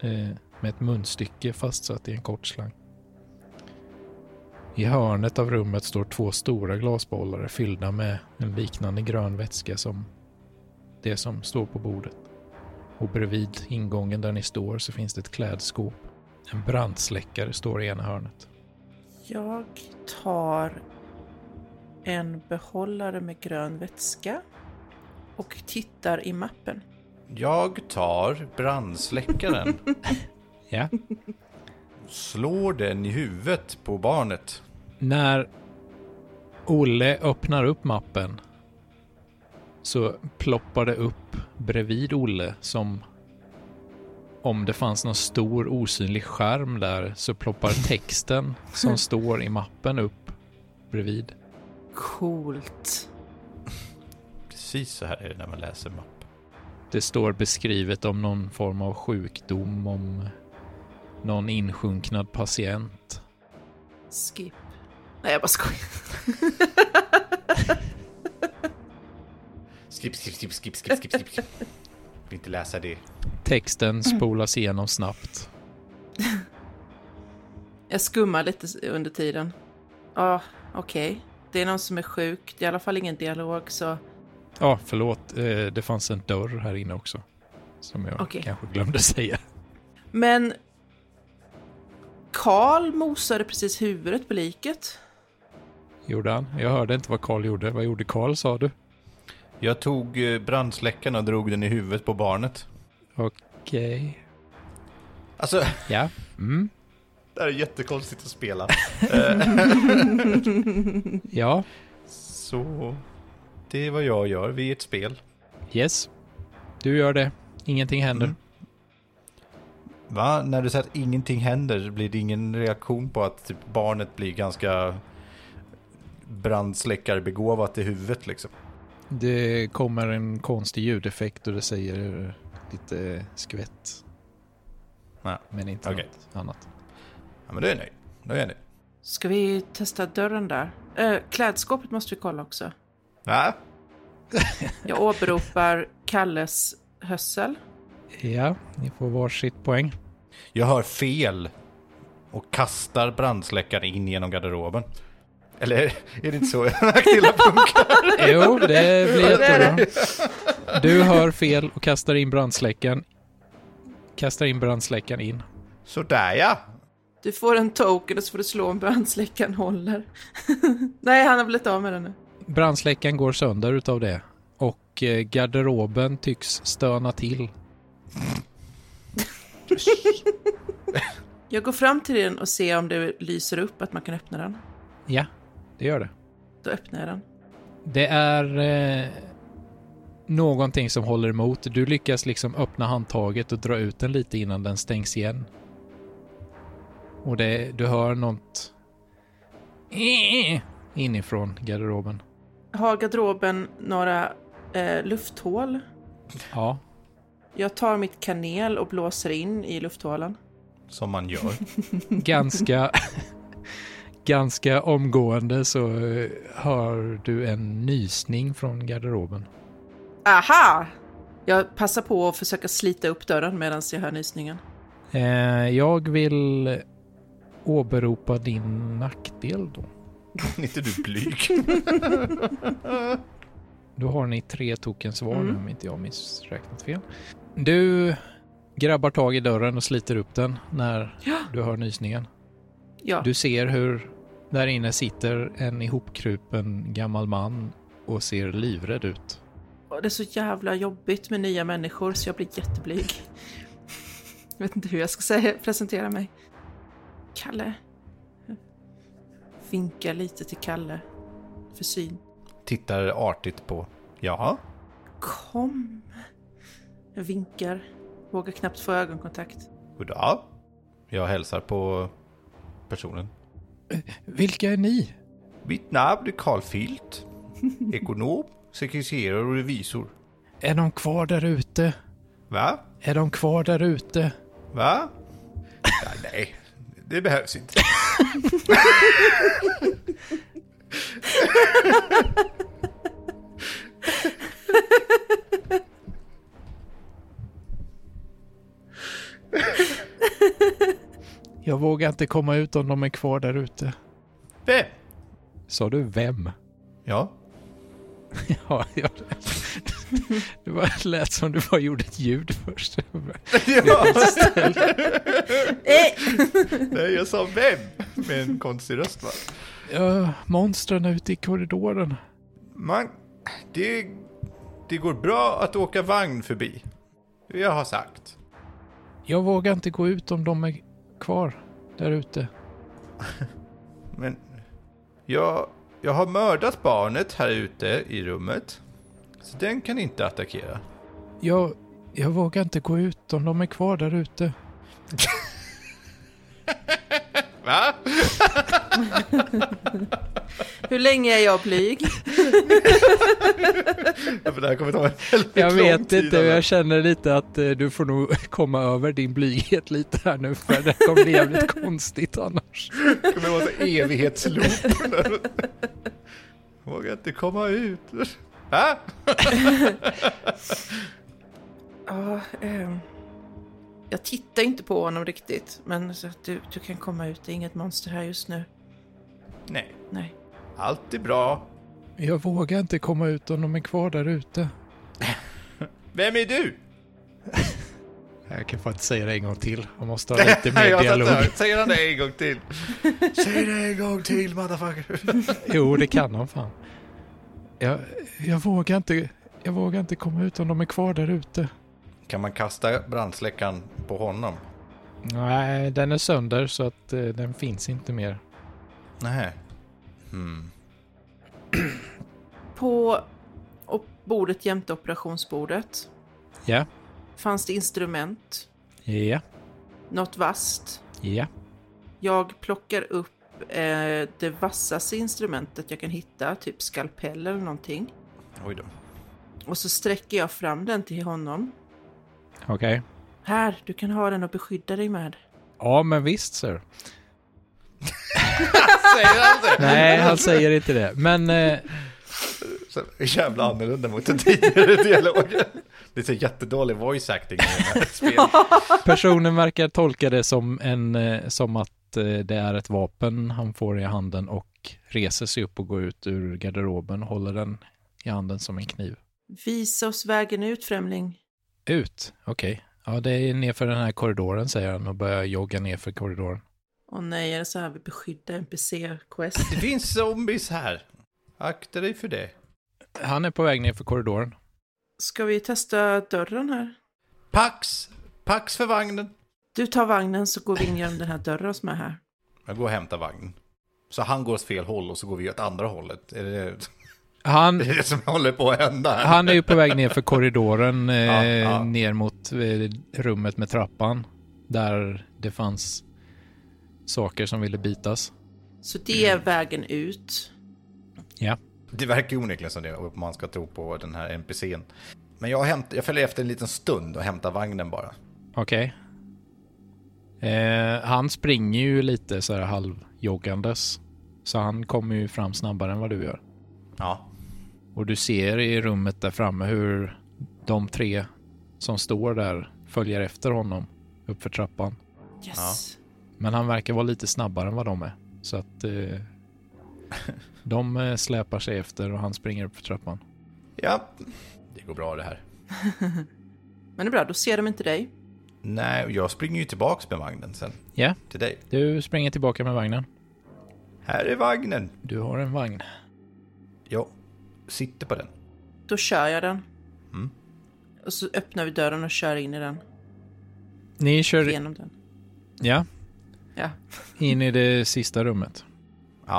S2: eh, med ett munstycke fastsatt i en kort slang. I hörnet av rummet står två stora glasbehållare fyllda med en liknande grön vätska som det som står på bordet och bredvid ingången där ni står så finns det ett klädskåp. En brandsläckare står i ena hörnet.
S3: Jag tar en behållare med grön vätska och tittar i mappen.
S1: Jag tar brandsläckaren.
S2: Ja.
S1: Slår den i huvudet på barnet.
S2: När Olle öppnar upp mappen så ploppar det upp bredvid Olle som om det fanns någon stor osynlig skärm där så ploppar texten som står i mappen upp bredvid.
S3: Coolt.
S1: Precis så här är det när man läser mapp.
S2: Det står beskrivet om någon form av sjukdom, om någon insjunknad patient.
S3: Skip. Nej, jag bara skojar.
S1: Skip, skip, skip, skip, skip, skip, skip. skip. Vill inte läsa det.
S2: Texten
S3: Mm.
S2: spolas igenom snabbt.
S3: Jag skummar lite under tiden. Ja, okej. Det är någon som är sjuk. Det är i alla fall ingen dialog, så
S2: Ja, förlåt. eh, Det fanns en dörr här inne också. Som jag
S3: Okej.
S2: kanske glömde säga.
S3: Men Karl mosade precis huvudet på liket.
S2: Gjorde han? Jag hörde inte vad Karl gjorde. Vad gjorde Karl, sa du?
S1: Jag tog eh, brandsläckaren och drog den i huvudet på barnet.
S2: Okej.
S1: Alltså,
S2: Ja. Mm.
S1: det här är jättekonstigt att spela.
S2: Ja.
S1: Så, det är vad jag gör. Vi är ett spel.
S2: Yes. Du gör det. Ingenting händer.
S1: Va? När du säger att ingenting händer, blir det ingen reaktion på att typ, barnet blir ganska brandsläckarbegåvat i huvudet liksom?
S2: Det kommer en konstig ljudeffekt och det säger lite skvätt.
S1: Ja.
S2: Men inte
S1: Okej.
S2: något annat.
S1: Ja, men då är jag nöjd. Då är jag nöjd.
S3: Ska vi testa dörren där? Äh, klädskåpet måste vi kolla också.
S1: Va?
S3: Jag åberopar Kalles hössel.
S2: Ja, ni får varsitt poäng.
S1: Jag hör fel och kastar brandsläckaren in genom garderoben. Eller är det inte så nackdelar funkar?
S2: Jo, det blir
S3: Det är
S2: jättebra. Du hör fel och kastar in brandsläckaren. Kastar in brandsläckaren in.
S1: Sådär ja.
S3: Du får en token och så får du slå om brandsläckaren håller. Nej, han har blivit av med den nu.
S2: Brandsläckaren går sönder utav det. Och eh, garderoben tycks stöna till.
S3: Jag går fram till den och ser om det lyser upp att man kan öppna den.
S2: Ja, det gör det.
S3: Då öppnar jag den.
S2: Det är eh, någonting som håller emot. Du lyckas liksom öppna handtaget och dra ut den lite innan den stängs igen. Och det, du hör något inifrån garderoben.
S3: Har garderoben några eh, lufthål?
S2: Ja,
S3: Jag tar mitt kanel och blåser in i lufthålen.
S1: Som man gör.
S2: ganska, ganska omgående så eh, hör du en nysning från garderoben.
S3: Aha! Jag passar på att försöka slita upp dörren medan jag hör nysningen.
S2: Eh, jag vill åberopa din nackdel då.
S1: Är inte du blyg?
S2: Då har ni tre tokens var
S3: Mm.
S2: nu om inte jag missräknat fel. Du grabbar tag i dörren och sliter upp den när
S3: Ja.
S2: du hör nysningen.
S3: Ja,
S2: Du ser hur där inne sitter en ihopkrupen gammal man och ser livrädd ut.
S3: och det är så jävla jobbigt med nya människor så jag blir jätteblyg. Jag vet inte hur jag ska säga, presentera mig. Kalle. Vinka lite till Kalle. För syn.
S1: Tittar artigt på. Jaha.
S3: Kom! Jag vinkar. Vågar knappt få ögonkontakt.
S1: Goddag. Jag hälsar på personen.
S2: Vilka är ni?
S1: Mitt namn är Carl Filt. Ekonom, sekreterare och revisor.
S2: Är de kvar där ute?
S1: Va?
S2: Är de kvar där ute?
S1: Va? Ja, nej, det behövs inte.
S2: Jag vågar inte komma ut om de är kvar där ute.
S1: Vem?
S2: Sa du vem?
S1: Ja.
S2: Ja, jag... Det var- lät som du bara gjorde ett ljud först.
S1: ja. nej, jag sa vem med en konstig röst va?
S2: Ja, monstren ute i korridoren.
S1: Man, det, det går bra att åka vagn förbi. Jag har sagt.
S2: Jag vågar inte gå ut om de är kvar där ute.
S1: Men jag, jag har mördat barnet här ute i rummet. Så den kan inte attackera.
S2: Jag, jag vågar inte gå ut om de är kvar där ute.
S1: Va?
S3: Hur länge är jag blyg?
S1: Ja, för det här kommer ta en väldigt
S2: Jag
S1: lång
S2: vet
S1: tid,
S2: inte,
S1: Anna.
S2: jag känner lite att eh, du får nog komma över din blyghet lite här nu för det kommer bli jävligt konstigt annars.
S1: Det kommer vara så evighetsloop. Vågar inte komma ut. Va?
S3: Ja, ehm, jag tittar inte på honom riktigt, men så att du, du kan komma ut. Det är inget monster här just nu.
S1: Nej,
S3: Nej.
S1: allt är bra.
S2: Jag vågar inte komma ut om de är kvar där ute.
S1: Vem är du?
S2: Jag kan faktiskt säga det en gång till. Jag måste ha lite mer
S1: Jag satt
S2: dialog.
S1: där. Säger han det en gång till? Säg det en gång till, motherfucker.
S2: Jo, det kan han fan. Jag, jag, vågar inte, jag vågar inte komma ut om de är kvar där ute.
S1: Kan man kasta brandsläckaren på honom?
S2: Nej, den är sönder så att eh, den finns inte mer.
S1: Nej. Hmm.
S3: På op- bordet jämte operationsbordet
S2: Ja,
S3: fanns det instrument,
S2: ja,
S3: något vasst.
S2: ja.
S3: Jag plockar upp eh, det vassaste instrumentet jag kan hitta, typ skalpell eller någonting.
S1: Oj då.
S3: Och så sträcker jag fram den till honom.
S2: Okej.
S3: Här, du kan ha den och beskydda dig med.
S2: Ja, men visst sir.
S1: Säger han det?
S2: Nej, han säger inte det. Men eh,
S1: Så jävla annorlunda mot den tidigare dialogen. Det är så jättedålig voice acting i det här spelet.
S2: personen verkar tolka det som, en, eh, som att eh, det är ett vapen han får i handen och och reser sig upp och går ut ur garderoben och håller den i handen som en kniv.
S3: Visa oss vägen ut, främling.
S2: Ut? Okej. Ja, det är nerför den här korridoren, säger han och börjar jogga nerför korridoren.
S3: Åh nej, är det så här vi beskyddar NPC-quest?
S1: Det finns zombies här. Akta dig för det.
S2: Han är på väg nerför korridoren.
S3: Ska vi testa dörren här?
S1: Pax! Pax för vagnen!
S3: Du tar vagnen så går vi in genom den här dörren som är här.
S1: Jag går och hämtar vagnen. Så han går åt fel håll och så går vi åt andra hållet. Är det
S2: Han,
S1: det, är det som håller på att hända? här?
S2: han är ju på väg nerför korridoren eh,
S1: Ja, ja.
S2: ner mot eh, rummet med trappan. Där det fanns saker som ville bitas.
S3: Så det är vägen ut.
S2: Ja.
S1: Det verkar ju onekligen som det, om man ska tro på den här NPCn. Men jag, hämt, jag följer efter en liten stund och hämtar vagnen bara.
S2: Okej. Eh, han springer ju lite så här halvjoggandes. Så han kommer ju fram snabbare än vad du gör.
S1: Ja.
S2: Och du ser i rummet där framme hur de tre som står där följer efter honom uppför trappan.
S3: Yes.
S2: Men han verkar vara lite snabbare än vad de är. Så att eh, de eh, släpar sig efter och han springer upp för trappan.
S1: Ja. Det går bra det här.
S3: Men det är bra, då ser de inte dig.
S1: Nej, och jag springer ju tillbaks med vagnen sen.
S2: Ja,
S1: Till dig.
S2: du springer tillbaka med vagnen.
S1: Här är vagnen.
S2: Du har en vagn.
S1: Jag sitter på den.
S3: Då kör jag den. Och så öppnar vi dörren och kör in i den.
S2: Ni kör
S3: Genom den.
S2: ja,
S3: Ja.
S2: in i det sista rummet.
S1: Ja.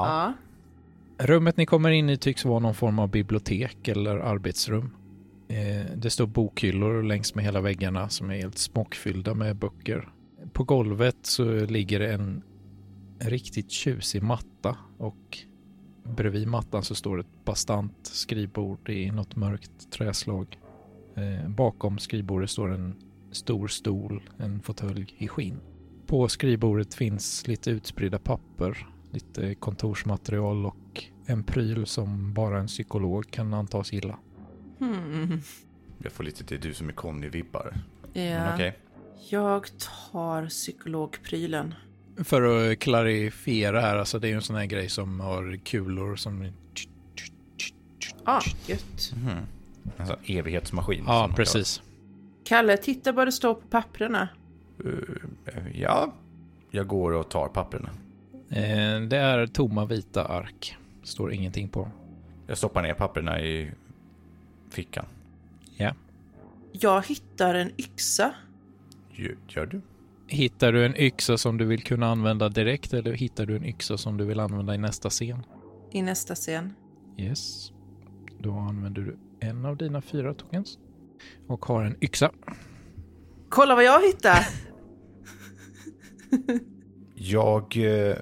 S3: ja.
S2: Rummet ni kommer in i tycks vara någon form av bibliotek eller arbetsrum. Eh, Det står bokhyllor längs med hela väggarna som är helt smockfyllda med böcker. På golvet så ligger det en riktigt tjusig matta och bredvid mattan så står ett bastant skrivbord i något mörkt träslag. Eh, Bakom skrivbordet står en stor stol, en fåtölj i skinn. På skrivbordet finns lite utspridda papper lite kontorsmaterial och en pryl som bara en psykolog kan antas gilla.
S3: Hmm.
S1: Jag får lite det är du som är Conny-vibbar. Men
S3: ja.
S1: Mm, Okej.
S3: Eh, Jag tar psykologprylen.
S2: För att klarifiera här, alltså det är ju en sån här grej som har kulor som...
S3: Ah, gött.
S1: Mhm. En sån evighetsmaskin.
S2: Ja,
S1: som de
S2: precis.
S3: Kalle, titta vad det står på papperna.
S1: gör. Eh, Ja. Jag går och tar papperna.
S2: Eh, Det är tomma vita ark. Står ingenting på.
S1: Jag stoppar ner papperna i fickan.
S2: Ja.
S3: Jag hittar en yxa.
S1: Gör- Gör du?
S2: Hittar du en yxa som du vill kunna använda direkt eller hittar du en yxa som du vill använda i nästa scen?
S3: I nästa scen.
S2: Yes. Då använder du en av dina fyra tokens och har en yxa.
S3: Kolla vad jag hittar!
S1: Jag... eh,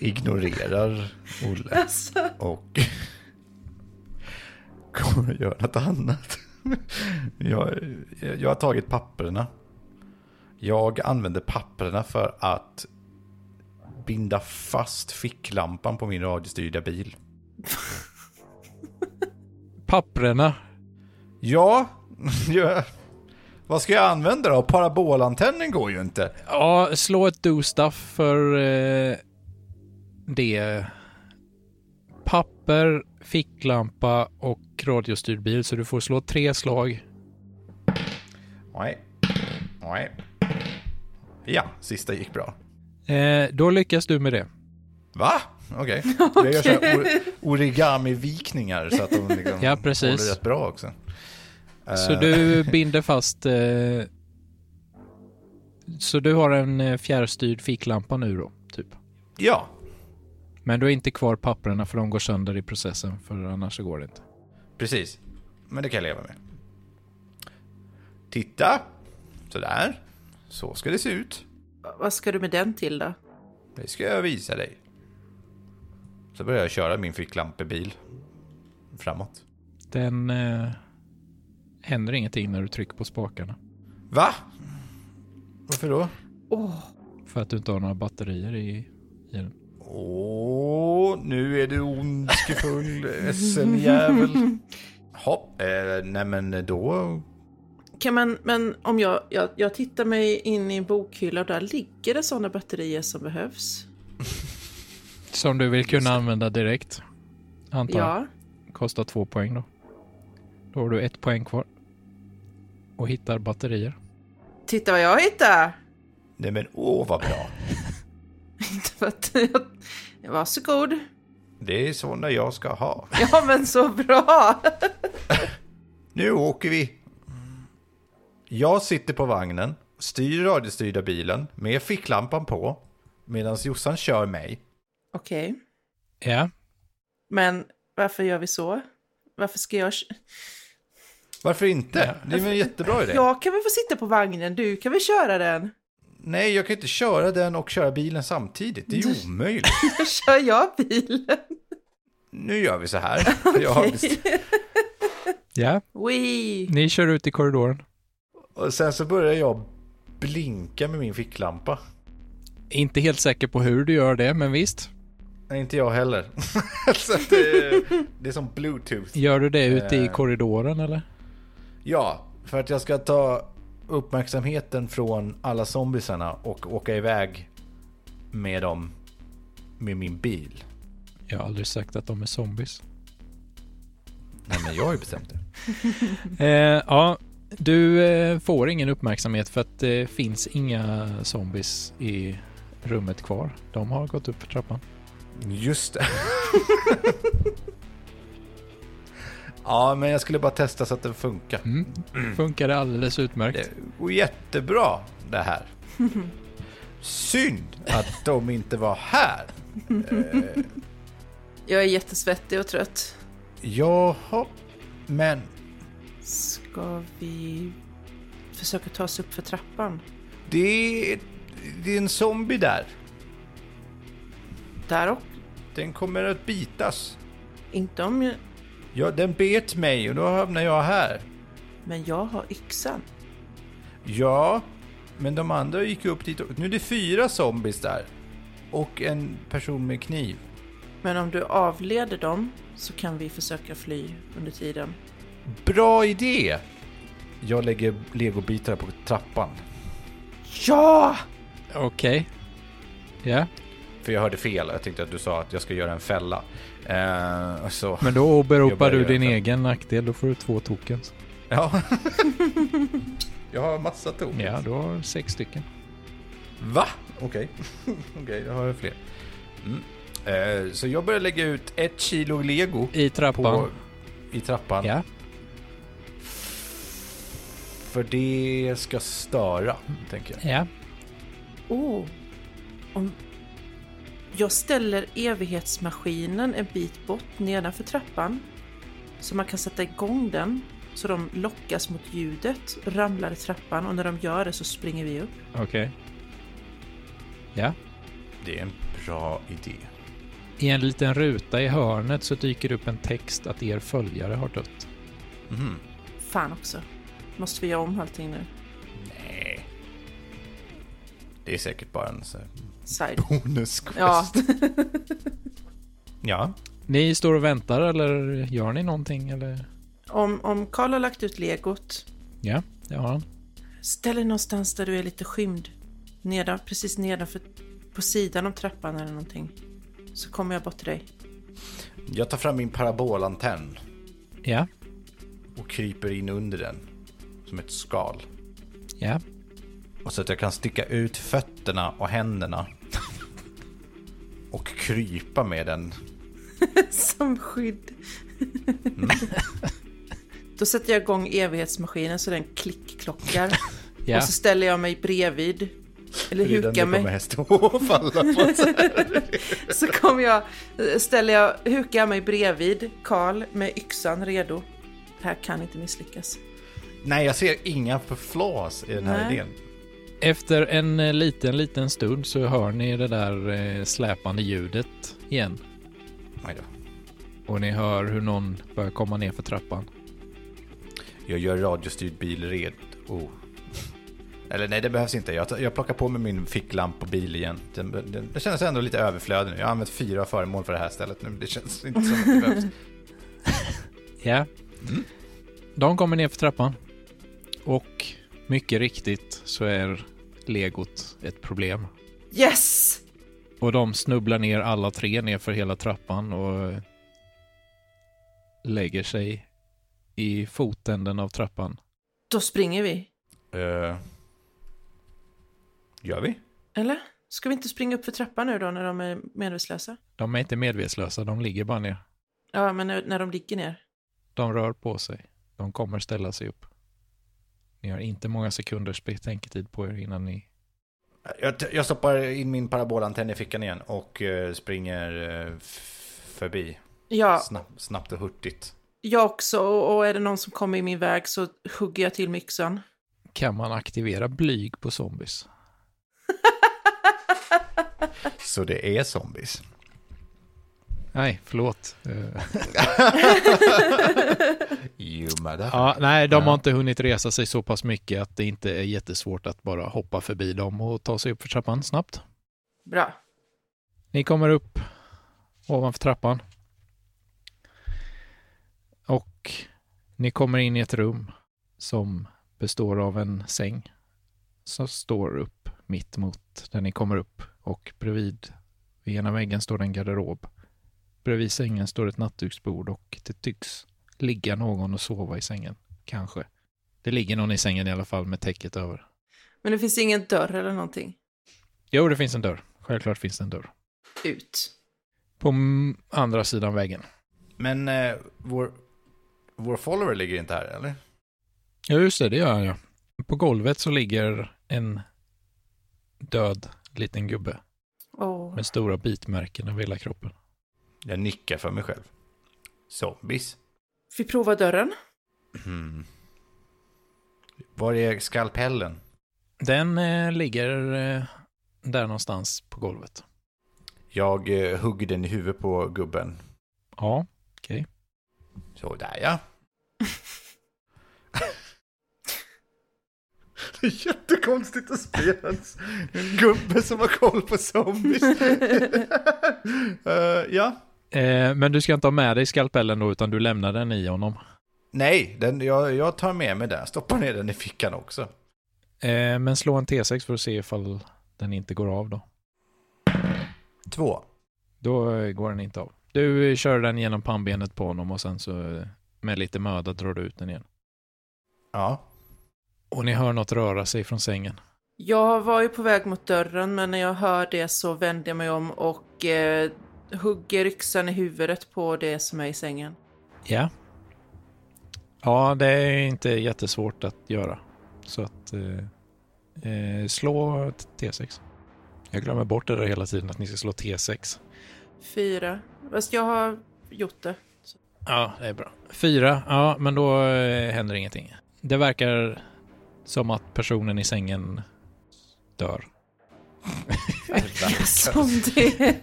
S1: ignorerar Olle
S3: Alltså,
S1: och kommer att göra något annat. Jag, jag har tagit papperna. Jag använder papperna för att binda fast ficklampan på min radiostyrda bil.
S2: Papprena
S1: Ja, jag- vad ska jag använda då? Parabolantennen går ju inte.
S2: Ja, slå ett do stuff för eh, det. Papper, ficklampa och radiostyrd bil. Så du får slå tre slag.
S1: Nej. Nej. Ja, sista gick bra.
S2: Eh, då lyckas du med det.
S1: Va? Okej. Jag gör så här or- origami-vikningar så att de liksom
S2: Ja, precis.
S1: håller rätt bra också.
S2: Så
S1: Eh,
S2: du binder fast... Eh, så du har en eh, fjärrstyrd ficklampa nu då, typ.
S1: Ja.
S2: Men du har inte kvar papperna för de går sönder i processen för annars så går det inte.
S1: Precis. Men det kan jag leva med. Titta. Sådär. Så ska det se ut.
S3: vad ska du med den till då?
S1: Det ska jag visa dig. Så börjar jag köra min ficklampebil framåt.
S2: Den... Eh, händer ingenting när du trycker på spakarna.
S1: Va? Varför då?
S2: För att du inte har några batterier i, i den.
S1: Åh, nu är du ondskefull SM-jävel. Hopp, eh, nej men då
S3: Kan man, men om jag, jag, jag tittar mig in i en bokhylla och där ligger det sådana batterier som behövs.
S2: Som du vill kunna använda direkt. Antar jag.
S3: Ja,
S2: Kostar två poäng då. Då har du ett poäng kvar. Och hittar batterier.
S3: titta vad jag hittar!
S1: Nej men åh vad bra.
S3: Inte för att jag... Varsågod.
S1: Det är såna jag ska ha.
S3: Ja men så bra!
S1: Nu åker vi. Jag sitter på vagnen, styr radiostyrda bilen med ficklampan på. Medan Jossan kör mig.
S3: Okej,
S2: Ja,
S3: men varför gör vi så? Varför ska jag...
S1: Varför inte? Det är väl en jättebra idé.
S3: Jag kan väl få sitta på vagnen, du kan väl köra den?
S1: Nej, jag kan inte köra den och köra bilen samtidigt. Det är ju omöjligt.
S3: Då kör jag bilen.
S1: Nu gör vi så här. Jag har bestämt-
S2: ja.
S3: Wee!
S2: Ni kör ut i korridoren.
S1: Och sen så börjar jag blinka med min ficklampa.
S2: Inte helt säker på hur du gör det, men visst.
S1: Nej, inte jag heller. så att det, det är som bluetooth.
S2: Gör du det ute i korridoren eller?
S1: Ja, för att jag ska ta uppmärksamheten från alla zombisarna och åka iväg med dem med min bil.
S2: Jag har aldrig sagt att de är zombies.
S1: Nej, men jag har ju bestämt det.
S2: Eh, ja, du eh, får ingen uppmärksamhet för att det finns inga zombies i rummet kvar. De har gått upp för trappan.
S1: Just det. ja, men jag skulle bara testa så att den funkar.
S2: Funkar det alldeles utmärkt.
S1: Det går jättebra det här. Synd att de inte var här.
S3: Jag är jättesvettig och trött.
S1: Jaha, men
S3: Ska vi försöka ta oss upp för trappan?
S1: det är, det är en zombie där.
S3: Där och
S1: Den kommer att bitas.
S3: Inte om jag...
S1: Ja, den bet mig och då hamnar jag här.
S3: Men jag har yxan.
S1: Ja, men de andra gick upp dit. och- Nu är det fyra zombies där. Och en person med kniv.
S3: Men om du avleder dem så kan vi försöka fly under tiden.
S1: Bra idé! Jag lägger legobitar på trappan.
S3: Ja!
S2: Okej. Ja,
S1: För jag hörde fel. Jag tänkte att du sa att jag ska göra en fälla. Eh, och så.
S2: men då åberopar
S1: Jag
S2: du
S1: börjar
S2: din
S1: göra
S2: egen nackdel. Då får du två tokens.
S1: Ja. jag har massa tom.
S2: Ja, du har sex stycken.
S1: Va? Okej. Okej, då har jag fler. Mm. Eh, så jag börjar lägga ut ett kilo lego
S2: I
S1: på,
S2: trappan.
S1: i trappan.
S2: Ja,
S1: För det ska störa, tänker jag.
S2: ja.
S3: Oh. Om... Jag ställer evighetsmaskinen en bit bort nedanför trappan. Så man kan sätta igång den. Så de lockas mot ljudet, ramlar i trappan och när de gör det så springer vi upp.
S2: Okej. Ja.
S1: Det är en bra idé.
S2: I en liten ruta i hörnet så dyker det upp en text att er följare har dött.
S3: Fan också. Måste vi göra om allting nu?
S1: Nej. Det är säkert bara en så här
S3: Side.
S1: bonusquest.
S3: Ja,
S1: ja.
S2: Ni står och väntar eller gör ni någonting eller?
S3: om, om Karl har lagt ut legot
S2: Ja, det har han.
S3: Ställ dig någonstans där du är lite skymd. Nedan, precis nedanför, på sidan om trappan eller någonting. Så kommer jag bort till dig.
S1: Jag tar fram min parabolantenn
S2: Ja,
S1: och kryper in under den. Som ett skal.
S2: ja.
S1: Och så att jag kan sticka ut fötterna och händerna. och krypa med den.
S3: Som skydd. Då sätter jag igång evighetsmaskinen så den klickklockar.
S2: Ja,
S3: Och så ställer jag mig bredvid. Eller hukar
S1: Den kommer
S3: mig.
S1: hästen att falla på.
S3: Så kommer jag, ställer jag, hukar jag mig bredvid Karl med yxan redo. Det här kan inte misslyckas.
S1: Nej, jag ser inga flas i den här
S3: Nej.
S1: idén.
S2: efter en eh, liten, liten stund så hör ni det där eh, släpande ljudet igen.
S1: Oj då.
S2: Och ni hör hur någon börjar komma ner för trappan.
S1: Jag gör radiostyrd bil red. Oh. Eller nej, det behövs inte. Jag, tar- jag plockar på mig min ficklampa och bil igen. Den, den, det känns ändå lite överflödig nu. Jag har använt fyra föremål för det här stället nu. men Det känns inte som att det behövs.
S2: Ja. De kommer ner för trappan. Och mycket riktigt så är legot ett problem.
S3: Yes!
S2: Och de snubblar ner alla tre nerför hela trappan och eh, lägger sig i fotänden av trappan.
S3: Då springer vi.
S1: Eh, gör vi?
S3: Eller? Ska vi inte springa upp för trappan nu då när de är medvetslösa?
S2: De är inte medvetslösa, de ligger bara ner.
S3: Ja, men när, när de ligger ner.
S2: De rör på sig. De kommer ställa sig upp. Ni har inte många sekunders betänketid på er innan ni...
S1: Jag, t- jag stoppar in min parabolantenn i fickan igen och eh, springer eh, f- förbi.
S3: Ja,
S1: Snabb, snabbt och hurtigt.
S3: jag också. Och, och är det någon som kommer i min väg så hugger jag till med yxan.
S2: Kan man aktivera blyg på zombies?
S1: Så det är zombies.
S2: Nej, förlåt. Eh,
S1: You mother.
S2: ja, nej, de har inte hunnit resa sig så pass mycket att det inte är jättesvårt att bara hoppa förbi dem och ta sig upp för trappan snabbt.
S3: Bra.
S2: Ni kommer upp ovanför trappan. Och ni kommer in i ett rum som består av en säng som står upp mitt mot där ni kommer upp och bredvid vid ena väggen står en garderob. Bredvid sängen står ett nattduksbord och det tycks ligga någon och sova i sängen, kanske. Det ligger någon i sängen i alla fall med täcket över.
S3: Men det finns ingen dörr eller någonting.
S2: Jo, det finns en dörr. Självklart finns det en dörr.
S3: Ut.
S2: På mm, andra sidan väggen.
S1: Men eh, vår, vår follower ligger inte här, eller?
S2: Ja, just det, det gör han ja. På golvet så ligger en död liten gubbe
S3: Åh.
S2: med stora bitmärken över hela kroppen.
S1: Jag nickar för mig själv. Zombies.
S3: Vi provar dörren.
S1: Mm. Var är skalpellen?
S2: Den eh, ligger eh, där någonstans på golvet.
S1: Jag eh, hugger den i huvudet på gubben.
S2: Ja,
S1: Så där ja. Det är jättekonstigt att spela en s- en gubbe som har koll på zombies. Eh, ja.
S2: eh, men du ska inte ha med dig skalpellen då, utan du lämnar den i honom.
S1: Nej, den, jag, jag tar med mig den. Stoppar ner den i fickan också.
S2: Eh, men slå en T6 för att se ifall den inte går av då.
S1: Två.
S2: Då eh, går den inte av. Du eh, kör den genom pannbenet på honom och sen så eh, med lite möda drar du ut den igen.
S1: Ja.
S2: Och ni hör något röra sig från sängen.
S3: Jag var ju på väg mot dörren men när jag hör det så vänder jag mig om och eh, hugger yxan i huvudet på det som är i sängen.
S2: Ja. Ja, det är inte jättesvårt att göra. Så att eh, eh, slå ett T6. Jag glömmer bort det där hela tiden att ni ska slå T6.
S3: Fyra. Fast jag har gjort det.
S2: Ja, det är bra. Fyra, ja, men då eh, händer ingenting. Det verkar som att personen i sängen dör.
S3: Som det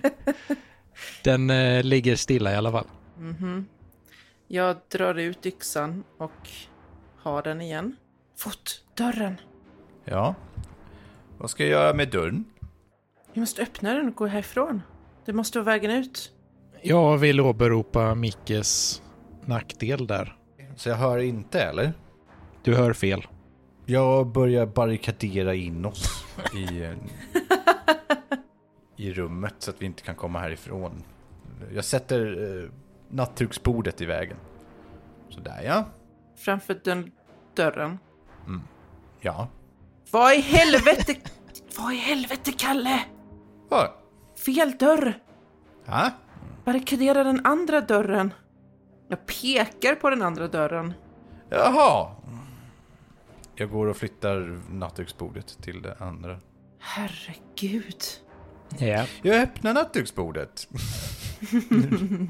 S2: Den eh, ligger stilla i alla fall.
S3: Mhm. Jag drar ut yxan och har den igen. Fort! Dörren!
S1: Ja. Vad ska jag göra med dörren?
S3: Vi måste öppna den och gå härifrån. Det måste vara vägen ut.
S2: Jag vill åberopa Mickes nackdel där.
S1: Så jag hör inte, eller?
S2: Du hör fel.
S1: Jag börjar barrikadera in oss i, eh, i rummet så att vi inte kan komma härifrån. Jag sätter eh, nattduksbordet i vägen. Sådär ja.
S3: Framför den dörren.
S1: Ja.
S3: Vad i helvete... Vad i helvete, Kalle?
S1: Vad?
S3: Fel dörr!
S1: Ja?
S3: Barrikadera den andra dörren. Jag pekar på den andra dörren.
S1: Jaha. Jag går och flyttar nattduksbordet till det andra.
S3: Herregud.
S2: Ja.
S1: Jag öppnar nattduksbordet.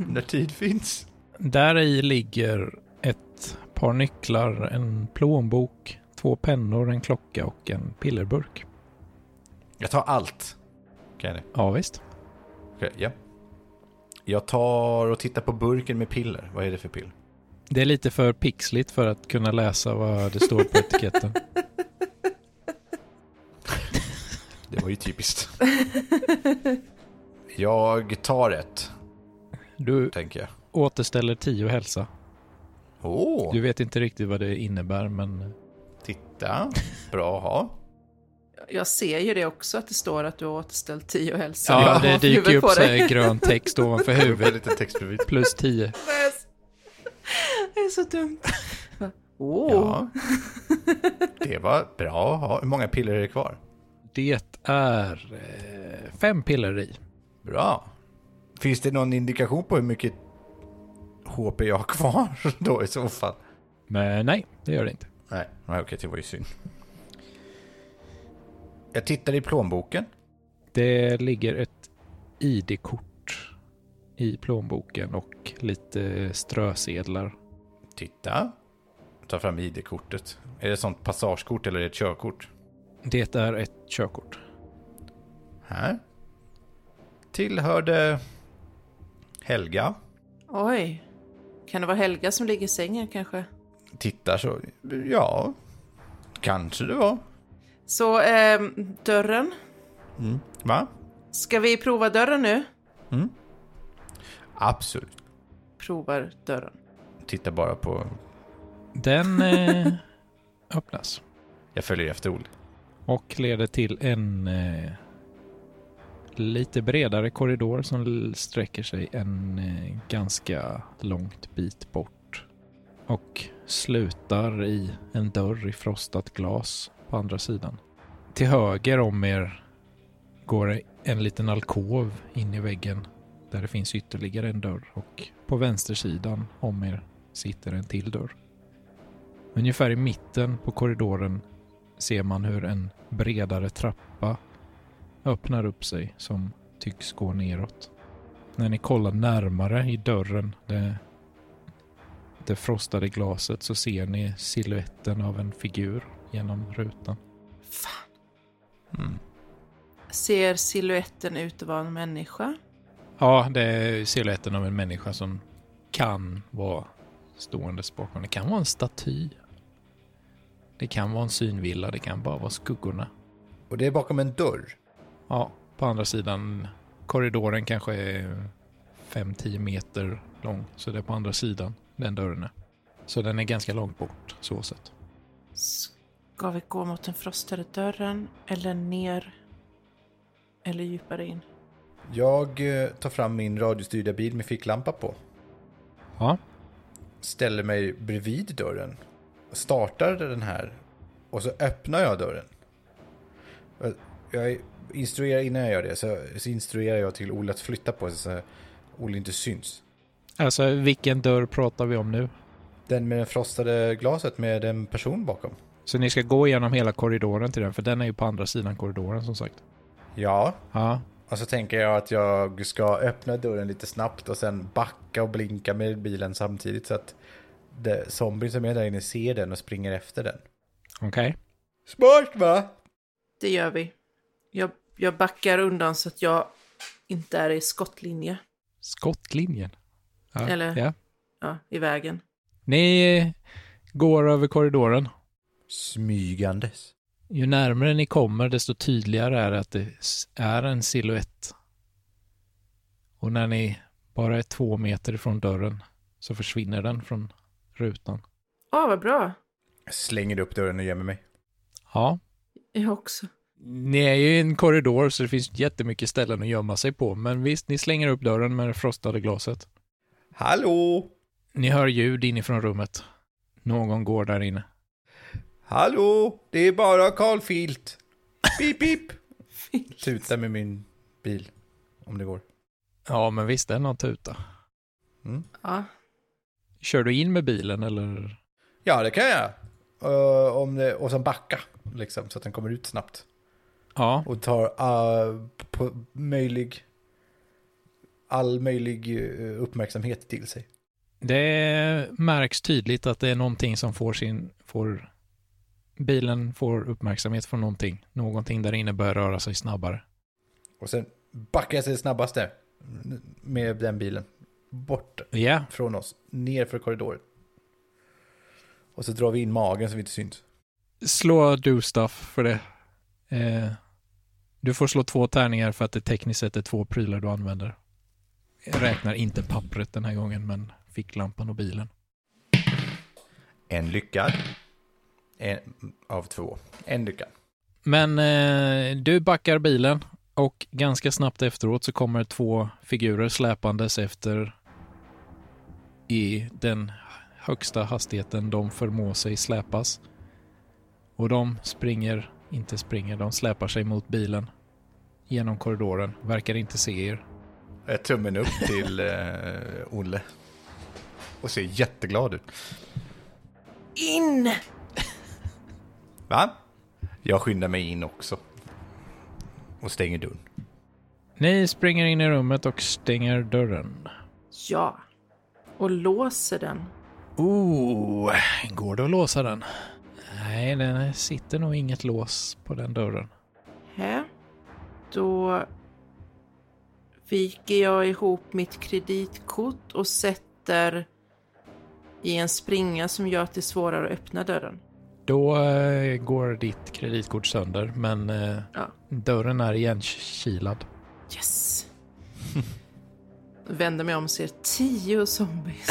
S1: När tid finns.
S2: Där i ligger ett par nycklar, en plånbok, två pennor, en klocka och en pillerburk.
S1: Jag tar allt. Kan jag det?
S2: Ja, visst.
S1: Okej, ja. Jag tar och tittar på burken med piller. Vad är det för piller?
S2: Det är lite för pixligt för att kunna läsa vad det står på etiketten.
S1: Det var ju typiskt. jag tar ett,
S2: Du
S1: tänker jag.
S2: återställer tio hälsa.
S1: Åh!
S2: Du vet inte riktigt vad det innebär, men
S1: Titta, bra att ha.
S3: Jag ser ju det också att det står att du har återställt 10 hälsa.
S2: Ja,
S3: Jag
S2: det
S3: har
S2: dyker
S3: huvudet
S2: ju upp
S3: på
S2: så
S3: dig.
S2: här grön text ovanför
S1: Med
S2: huvudet.
S1: lite text bredvid.
S2: Plus 10.
S3: Det är så dumt. Åh,
S1: Ja. Det var bra att ha. Hur många piller är det kvar?
S2: Det är eh, fem piller i.
S1: Bra. Finns det någon indikation på hur mycket HP jag har kvar då i så fall?
S2: Men nej, det gör det inte.
S1: Nej, nej okej, det var ju synd. Jag tittar i plånboken.
S2: Det ligger ett ID-kort i plånboken och lite strösedlar.
S1: Titta. Ta fram ID-kortet. Är det ett sånt passagekort eller är det ett körkort?
S2: Det är ett körkort.
S1: Här. Tillhörde Helga.
S3: oj. Kan det vara Helga som ligger i sängen kanske?
S1: Tittar så. Ja, kanske det var.
S3: Så, ehm, dörren.
S1: Va?
S3: Ska vi prova dörren nu?
S1: Absolut.
S3: Provar dörren.
S1: Titta bara på...
S2: Den eh, öppnas
S1: Jag följer efter Olle.
S2: och leder till en eh, lite bredare korridor som l- sträcker sig en eh, ganska långt bit bort och slutar i en dörr i frostat glas på andra sidan. Till höger om er går en liten alkov in i väggen där det finns ytterligare en dörr och på vänstersidan om er sitter en till dörr. Ungefär i mitten på korridoren ser man hur en bredare trappa öppnar upp sig som tycks gå neråt. När ni kollar närmare i dörren, det, det frostade glaset, så ser ni siluetten av en figur genom rutan.
S3: Fan.
S1: Mm.
S3: Ser siluetten ut att vara en människa?
S2: Ja, det är siluetten av en människa som kan vara ståendes bakom. Det kan vara en staty. Det kan vara en synvilla, det kan bara vara skuggorna.
S1: Och det är bakom en dörr.
S2: Ja, på andra sidan korridoren kanske är 5-10 meter lång. Så det är på andra sidan den dörren är. Så den är ganska långt bort så sett.
S3: Ska vi gå mot den frostade dörren eller ner? Eller djupare in?
S1: Jag eh, tar fram min radiostyrda bil med ficklampa på.
S2: Ja,
S1: Ställer mig bredvid dörren. Startar den här. Och så öppnar jag dörren. Eh, Jag instruerar innan jag gör det. Så, så instruerar jag till Olle att flytta på sig så Olle inte syns.
S2: alltså vilken dörr pratar vi om nu?
S1: Den med det frostade glaset med en person bakom.
S2: Så ni ska gå igenom hela korridoren till den, för den är ju på andra sidan korridoren som sagt.
S1: Ja,
S2: Ja,
S1: Och så tänker jag att jag ska öppna dörren lite snabbt och sen backa och blinka med bilen samtidigt så att det, zombien som är där inne ser den och springer efter den.
S2: okej.
S1: Smart va?
S3: Det gör vi. Jag, jag backar undan så att jag inte är i skottlinje.
S2: Skottlinjen. Ja,
S3: Eller-
S2: Ja.
S3: Ja, i vägen.
S2: Ni går över korridoren.
S1: Smygandes.
S2: Ju närmare ni kommer, desto tydligare är det att det s- är en siluett. Och när ni bara är två meter ifrån dörren så försvinner den från rutan.
S3: Ja, vad bra.
S1: Jag slänger upp dörren och gömmer mig.
S2: Ja,
S3: Jag också.
S2: ni är ju i en korridor så det finns jättemycket ställen att gömma sig på. Men visst, ni slänger upp dörren med det frostade glaset.
S1: Hallå?
S2: Ni hör ljud inifrån rummet. Någon går där inne.
S1: Hallå? Det är bara Carl Filt. Pip pip. Tuta med min bil. Om det går.
S2: Ja, men visst, den har tuta.
S3: Ja,
S2: Kör du in med bilen eller?
S1: Ja, det kan jag. Ö, om det, och sen backa. Liksom, så att den kommer ut snabbt.
S2: Ja,
S1: Och tar uh, på möjlig, all möjlig eh, uppmärksamhet till sig.
S2: Det märks tydligt att det är någonting som får sin, får, bilen får uppmärksamhet från någonting. Någonting där inne börjar röra sig snabbare.
S1: Och sen backar jag sig snabbast där. Med den bilen. Bort
S2: Ja,
S1: från oss. Ner för korridoren. Och så drar vi in magen så vi inte syns.
S2: slå do stuff för det. Eh, du får slå två tärningar för att det tekniskt sett är två prylar du använder. Jag räknar inte pappret den här gången, men ficklampan och bilen.
S1: En lyckad. En, av två. En lycka.
S2: Men eh, du backar bilen och ganska snabbt efteråt så kommer två figurer släpandes efter i den högsta hastigheten de förmår sig släpas. Och de springer, inte springer, de släpar sig mot bilen genom korridoren, verkar inte se er.
S1: Eh, Tummen upp till eh, Olle. Och ser jätteglad ut.
S3: In!
S1: Va? Jag skyndar mig in också. Och stänger dörren.
S2: Ni springer in i rummet och stänger dörren.
S3: Ja. Och låser den.
S2: Oh, går det att låsa den? Nej, det sitter nog inget lås på den dörren.
S3: Hä? Då viker jag ihop mitt kreditkort och sätter i en springa som gör att det är svårare att öppna dörren.
S2: Då eh, går ditt kreditkort sönder, men eh,
S3: Ja.
S2: dörren är igenkilad.
S3: Yes! Vänder mig om och ser tio zombies.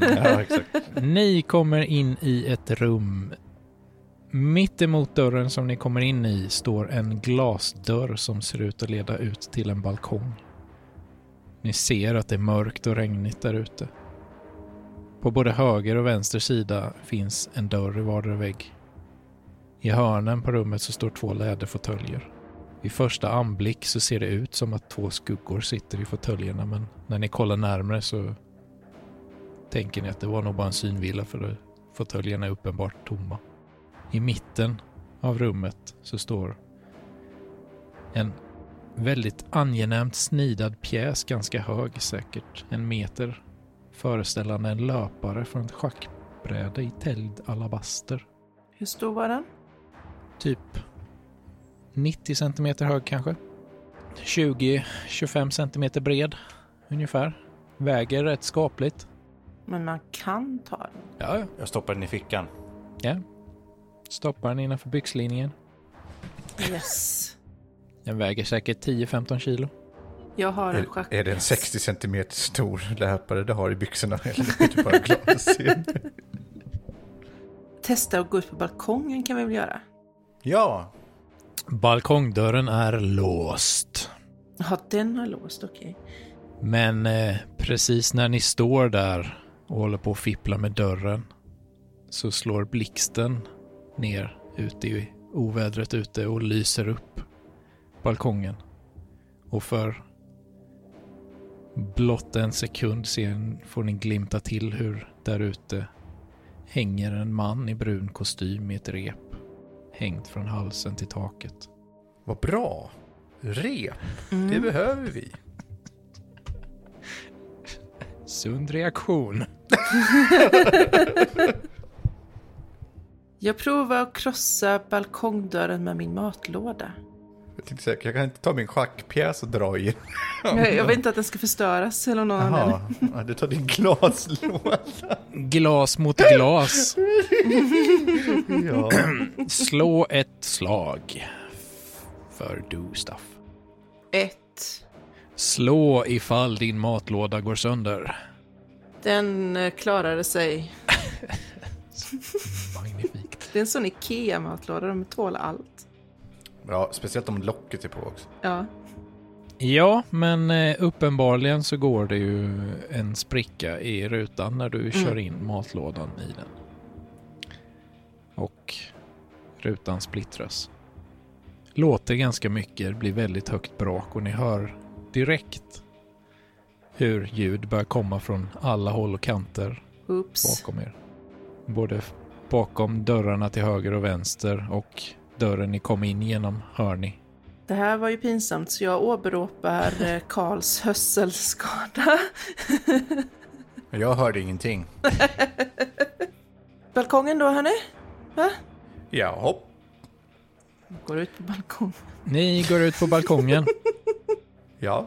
S1: Ja, exakt.
S2: Ni kommer in i ett rum. Mitt emot dörren som ni kommer in i står en glasdörr som ser ut att leda ut till en balkong. Ni ser att det är mörkt och regnigt där ute. På både höger och vänster sida finns en dörr i vardera vägg. I hörnen på rummet så står två läderfåtöljer. Vid första anblick så ser det ut som att två skuggor sitter i fåtöljerna men när ni kollar närmare så tänker ni att det var nog bara en synvilla för fåtöljerna är uppenbart tomma. I mitten av rummet så står en väldigt angenämt snidad pjäs, ganska hög säkert, en meter, föreställande en löpare från ett schackbräde i täld alabaster.
S3: Hur stor var den?
S2: Typ 90 centimeter hög kanske. 20-25 centimeter bred ungefär. Väger rätt skapligt.
S3: Men man kan ta den.
S2: Ja, ja.
S1: Jag stoppar den i fickan.
S2: Stoppar den innanför byxlinjen.
S3: Yes.
S2: Den väger säkert 10-15 kilo.
S3: Jag har en
S1: Är,
S3: schack.
S1: är det en 60 cm stor löpare du har i byxorna? Eller är du bara glad att se?
S3: Testa att gå ut på balkongen kan vi väl göra?
S1: Ja,
S2: Balkongdörren är låst.
S3: Ja, den har låst, okej.
S2: Men eh, precis när ni står där och håller på att fippla med dörren så slår blixten ner ute i ovädret ute och lyser upp balkongen. Och för blott en sekund sen får ni glimta till hur där ute hänger en man i brun kostym i ett rep hängt från halsen till taket.
S1: vad bra. Rep,
S3: Mm.
S1: det behöver vi.
S2: Sund reaktion.
S3: Jag provar att krossa balkongdörren med min matlåda.
S1: Jag tänkte säga, jag kan inte ta min schackpjäs och dra i den.
S3: Jag, jag vill inte att den ska förstöras eller någon annan.
S1: Jaha, ja, du tar din glaslåda.
S2: Glas mot glas.
S1: Ja.
S2: Slå ett slag. För do stuff.
S3: Ett.
S2: Slå ifall din matlåda går sönder.
S3: Den eh, klarade sig.
S2: Magnifikt.
S3: Det är en sån Ikea-matlåda, de tål allt.
S1: Bra, speciellt om locket är på också.
S3: Ja.
S2: Ja, men eh, uppenbarligen så går det ju en spricka i rutan när du kör in matlådan i den. Och rutan splittras. Låter ganska mycket, det blir väldigt högt brak och ni hör direkt hur ljud börjar komma från alla håll och kanter
S3: Oops.
S2: bakom er. Både f- bakom dörrarna till höger och vänster och dörren ni kom in genom hör ni.
S3: Det här var ju pinsamt, så jag åberopar eh, Karls hörselskada.
S1: Jag hörde ingenting.
S3: Balkongen då, hörni?
S1: Ja, hopp.
S3: Går ut på balkongen.
S2: Ni går ut på balkongen.
S1: Ja,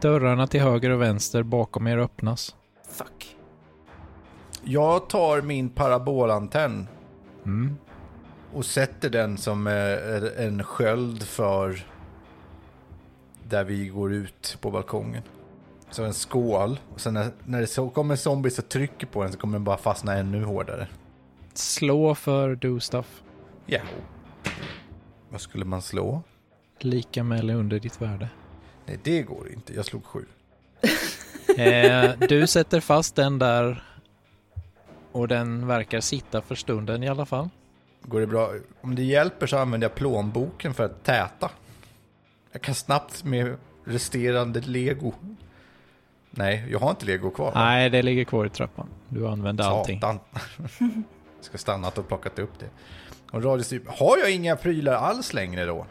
S2: Dörrarna till höger och vänster bakom er öppnas.
S3: Fuck.
S1: jag tar min parabolantenn
S2: Mm.
S1: och sätter den som eh, en sköld för där vi går ut på balkongen. Som en skål. Och sen när, när det så kommer zombies och trycker på den så kommer den bara fastna ännu hårdare.
S2: Slå för do stuff.
S1: Ja. Vad skulle man slå?
S2: Lika med eller under ditt värde.
S1: Nej, det går inte. Jag slog sju.
S2: Eh, du sätter fast den där och den verkar sitta för stunden i alla fall.
S1: Går det bra? Om det hjälper så använder jag plånboken för att täta. Jag kan snabbt med resterande lego. Nej, jag har inte lego kvar.
S2: Nej, det ligger kvar i trappan. Du använde allting.
S1: Satan. Jag ska stannat och plockat upp det. Och radiostyr... Har jag inga prylar alls längre då?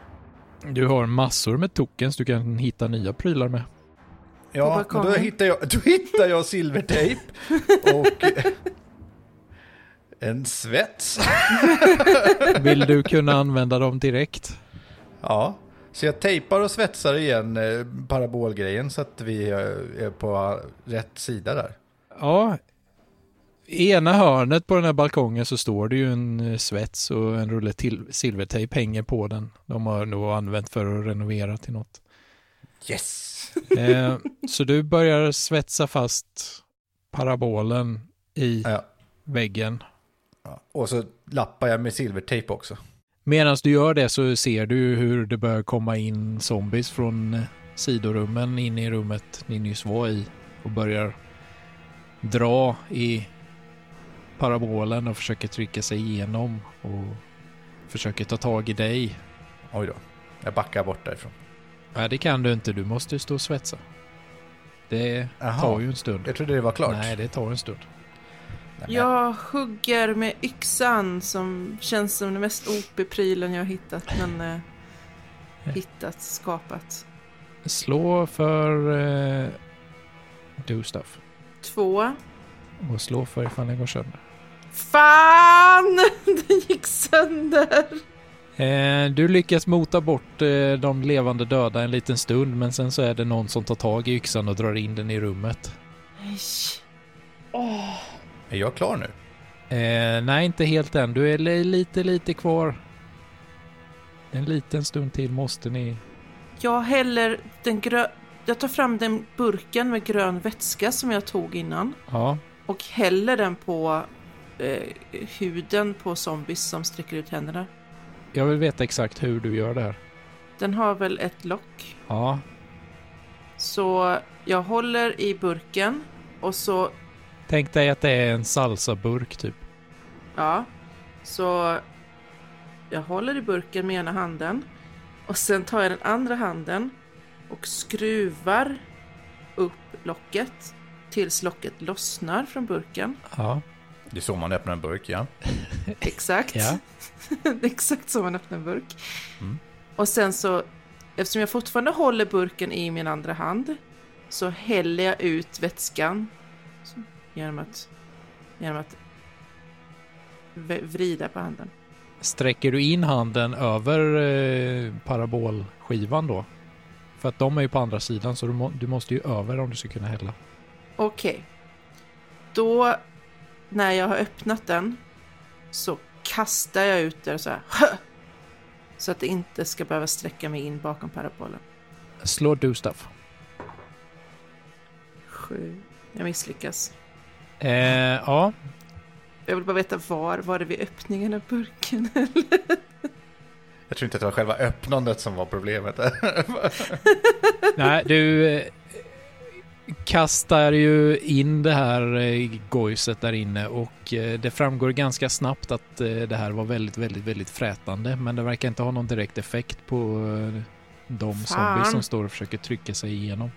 S2: Du har massor med tokens du kan hitta nya prylar med.
S3: På
S1: Ja, men
S3: balkongen.
S1: då hittar jag, då hittar jag silvertejp och eh, en svets.
S2: Vill du kunna använda dem direkt?
S1: Ja, så jag tejpar och svetsar igen eh, parabolgrejen så att vi eh, är på rätt sida där.
S2: Ja. I ena hörnet på den här balkongen så står det ju en eh, svets och en rulle till silvertejp hänger på den. De har nog använt för att renovera till något.
S1: Yes!
S2: Eh, så du börjar svetsa fast parabolen i
S1: Ja.
S2: väggen.
S1: Ja, Och så lappar jag med silvertejp också.
S2: Medan du gör det så ser du hur det börjar komma in zombies från eh, sidorummen in i rummet ni nyss var i och börjar dra i parabolen och försöker trycka sig igenom och försöker ta tag i dig.
S1: Oj då, jag backar bort därifrån.
S2: Nej, det kan du inte. Du måste ju stå och svetsa. Det
S1: Jaha.
S2: tar ju en stund.
S1: Jag trodde det var klart.
S2: Nej, det tar en stund.
S1: Nej, men-
S3: Jag hugger med yxan som känns som den mest OP-prylen jag har hittat. Men eh, hittat, skapat.
S2: Slå för eh, do stuff.
S3: Två.
S2: Och slå för ifall den går sönder.
S3: Fan! Den gick sönder!
S2: Eh, du lyckas mota bort eh, de levande döda en liten stund men sen så är det någon som tar tag i yxan och drar in den i rummet.
S3: Nej.
S1: Är jag klar nu?
S2: Eh, nej, inte helt än. Du är li- lite, lite kvar. En liten stund till måste ni...
S3: Jag häller den grö... Jag tar fram den burken med grön vätska som jag tog innan.
S2: Ja,
S3: Och häller den på eh, huden på zombies som sträcker ut händerna.
S2: jag vill veta exakt hur du gör det här.
S3: Den har väl ett lock?
S2: Ja,
S3: Så jag håller i burken och så,
S2: tänk dig att det är en salsaburk typ.
S3: ja, så jag håller i burken med ena handen och sen tar jag den andra handen och skruvar upp locket tills locket lossnar från burken.
S2: Ja,
S1: Det är så man öppnar en burk, ja.
S3: Exakt.
S2: Ja.
S3: det är exakt som en öppnar en burk. Och sen så, eftersom jag fortfarande håller burken i min andra hand, så häller jag ut vätskan Så, genom att, genom att v- vrida på handen.
S2: sträcker du in handen över eh, parabolskivan då? För att de är ju på andra sidan så du, må- du måste ju över om du ska kunna hälla.
S3: Okej. Då, när jag har öppnat den, så kastar jag ut den så här. "Hö!" Så att det inte ska behöva sträcka mig in bakom parabolen.
S2: Slå do stuff.
S3: Sju. Jag misslyckas.
S2: Eh, ja,
S3: Jag vill bara veta var. Var det vid öppningen av burken?
S1: Jag tror inte att det var själva öppnandet som var problemet.
S2: nej, du eh, kastar ju in det här eh, gojset där inne och eh, det framgår ganska snabbt att eh, det här var väldigt, väldigt, väldigt frätande, men det verkar inte ha någon direkt effekt på eh, de zombies
S3: Fan.
S2: som står och försöker trycka sig igenom.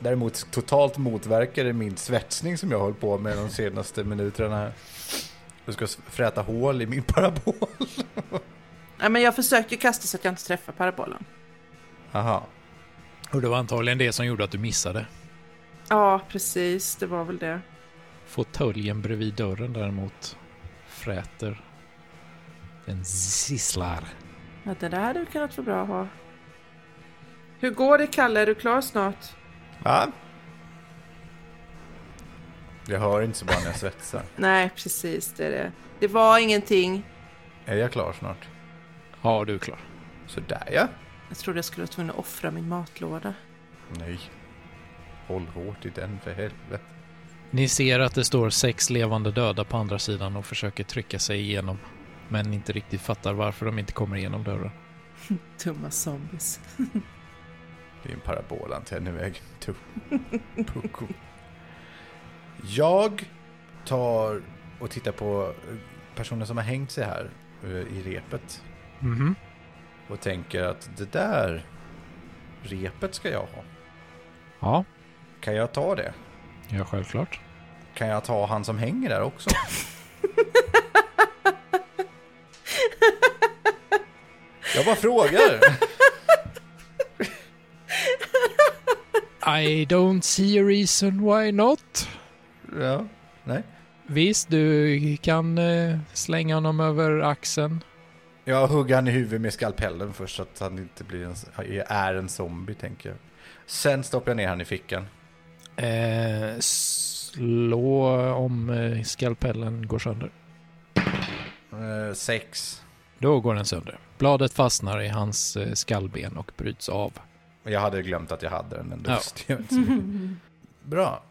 S1: Däremot totalt motverkar det min svetsning som jag höll på med de senaste minuterna här. Jag ska s- fräta hål i min parabol.
S3: Nej, men jag försökte ju kasta så att jag inte träffar parabolen.
S1: Aha.
S2: Och det var antagligen det som gjorde att du missade.
S3: Ja, precis. Det var väl det.
S2: Fåtöljen bredvid dörren däremot fräter. Den zisslar.
S3: Ja, det där hade kunnat vara bra att ha. Hur går det, Kalle? Är du klar snart?
S1: Va? Jag hör inte så bra när jag svetsar.
S3: Nej, precis. Det är det. Det var ingenting.
S1: Är jag klar snart?
S2: Ja, du är klar.
S1: Sådär ja.
S3: Jag trodde jag skulle vara tvungen att offra min matlåda.
S1: Nej. Håll hårt i den för helvete.
S2: Ni ser att det står sex levande döda på andra sidan och försöker trycka sig igenom. Men inte riktigt fattar varför de inte kommer igenom dörren.
S3: Dumma zombies.
S1: Det är en parabol antar jag. Nu är jag tu- pucko. Jag tar och tittar på personen som har hängt sig här eh, i repet
S2: Mhm.
S1: och tänker att det där repet ska jag ha.
S2: Ja,
S1: Kan jag ta det?
S2: ja självklart.
S1: Kan jag ta han som hänger där också? Jag bara frågar.
S2: I don't see a reason why not.
S1: Ja, nej.
S2: Visst, du kan eh, slänga honom över axeln.
S1: Jag hugger han i huvudet med skalpellen först så att han inte blir en, är en zombie tänker jag. Sen stoppar jag ner han i fickan.
S2: Eh, slå om eh, skalpellen går sönder.
S1: Eh, sex.
S2: Då går den sönder. Bladet fastnar i hans eh, skallben och bryts av.
S1: Jag hade glömt att jag hade den ändå.
S2: Ja.
S1: så det gör inte så mycket. Bra.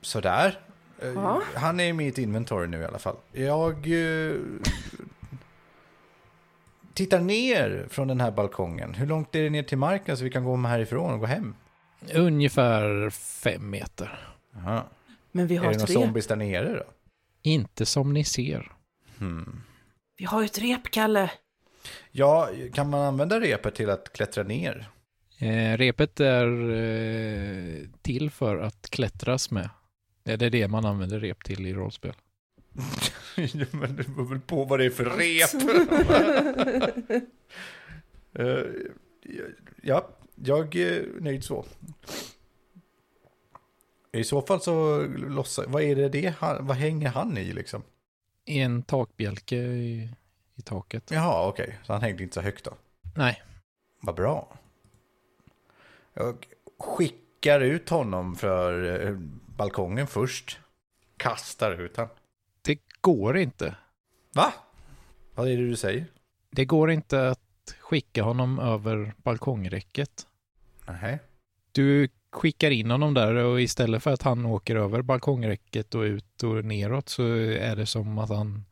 S1: Sådär. Eh,
S3: Ja.
S1: Han är i mitt inventory nu i alla fall. Jag eh, tittar ner från den här balkongen. Hur långt är det ner till marken så vi kan gå härifrån och gå hem?
S2: Ungefär fem meter.
S1: Jaha.
S3: Men vi
S1: Är
S3: har
S1: det några
S3: ett rep.
S1: zombies där nere då?
S2: Inte som ni ser.
S1: Hmm.
S3: Vi har ju ett rep, Kalle.
S1: Ja, kan man använda repet till att klättra ner?
S2: Eh, repet är eh, till för att klättras med. Det är det man använder rep till i rollspel.
S1: Ja, men det beror väl på vad det är för rep. Eh, ja, jag är nöjd så. I så fall så lossar, vad är det det, han, vad hänger han i liksom?
S2: En takbjälke i, i taket.
S1: Jaha, okej, så han hängde inte så högt då.
S2: Nej,
S1: Vad bra. Jag skickar ut honom för eh, balkongen först. Kastar ut han.
S2: det går inte.
S1: Va? Vad är det du säger?
S2: Det går inte att skicka honom över balkongräcket.
S1: Nej.
S2: Du skickar in honom där och istället för att han åker över balkongräcket och ut och neråt så är det som att han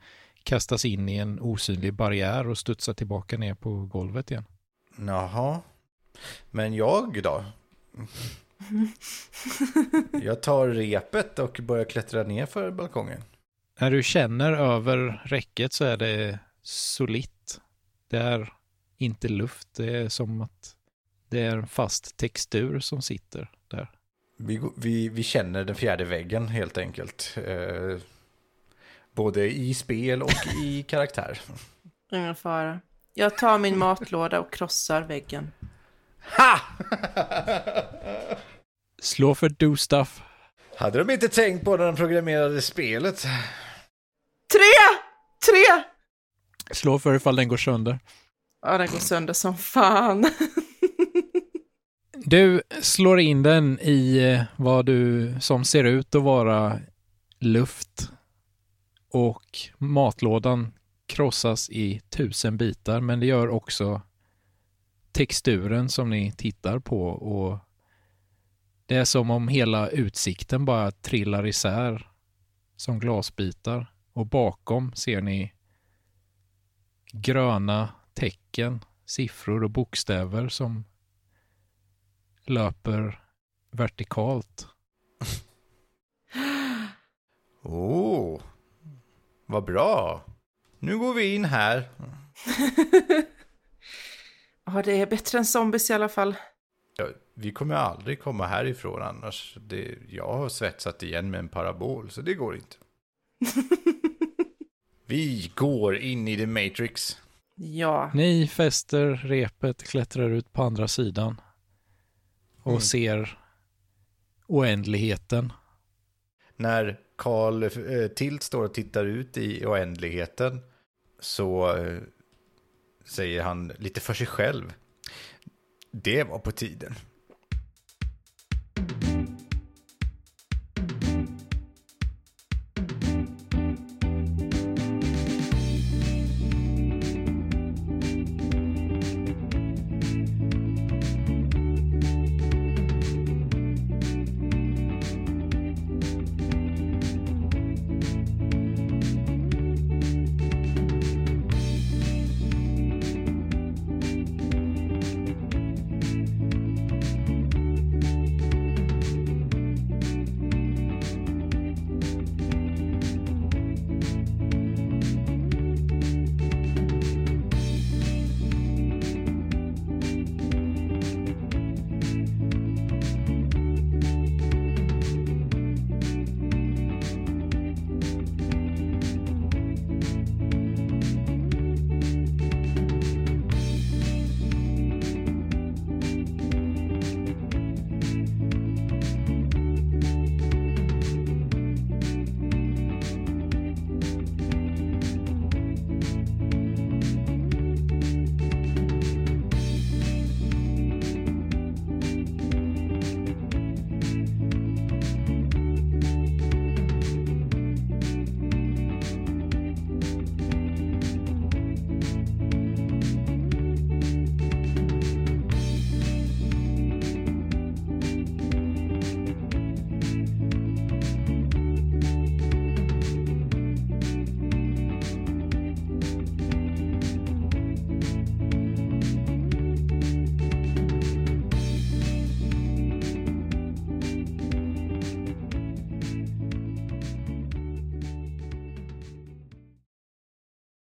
S2: kastas in i en osynlig barriär och studsar tillbaka ner på golvet igen.
S1: Jaha. Men jag då? Jag tar repet och börjar klättra ner för balkongen.
S2: När du känner över räcket så är det solitt. Det är inte luft, det är som att det är en fast textur som sitter där.
S1: Vi, går- vi, vi känner den fjärde väggen helt enkelt. Eh, både i spel och i karaktär.
S3: Ingen fara. Jag tar min matlåda och krossar väggen.
S1: Ha!
S2: Slå för do stuff.
S1: Hade de inte tänkt på när de programmerade spelet?
S3: Tre! Tre!
S2: Slå för ifall den går sönder.
S3: Ja, den går sönder som fan.
S2: Du slår in den i eh, vad du som ser ut att vara luft och matlådan krossas i tusen bitar men det gör också texturen som ni tittar på och det är som om hela utsikten bara trillar isär som glasbitar och bakom ser ni gröna tecken, siffror och bokstäver som löper vertikalt.
S1: Oh, vad bra. Nu går vi in här.
S3: Ja, det är bättre än zombies i alla fall.
S1: Ja, vi kommer aldrig komma härifrån annars. Det, jag har svetsat igen med en parabol, så det går inte. vi går in i the matrix.
S3: Ja.
S2: Ni fäster repet, klättrar ut på andra sidan och
S1: Mm.
S2: ser oändligheten.
S1: När Carl eh, Tilt står och tittar ut i oändligheten så eh, säger han lite för sig själv. Det var på tiden.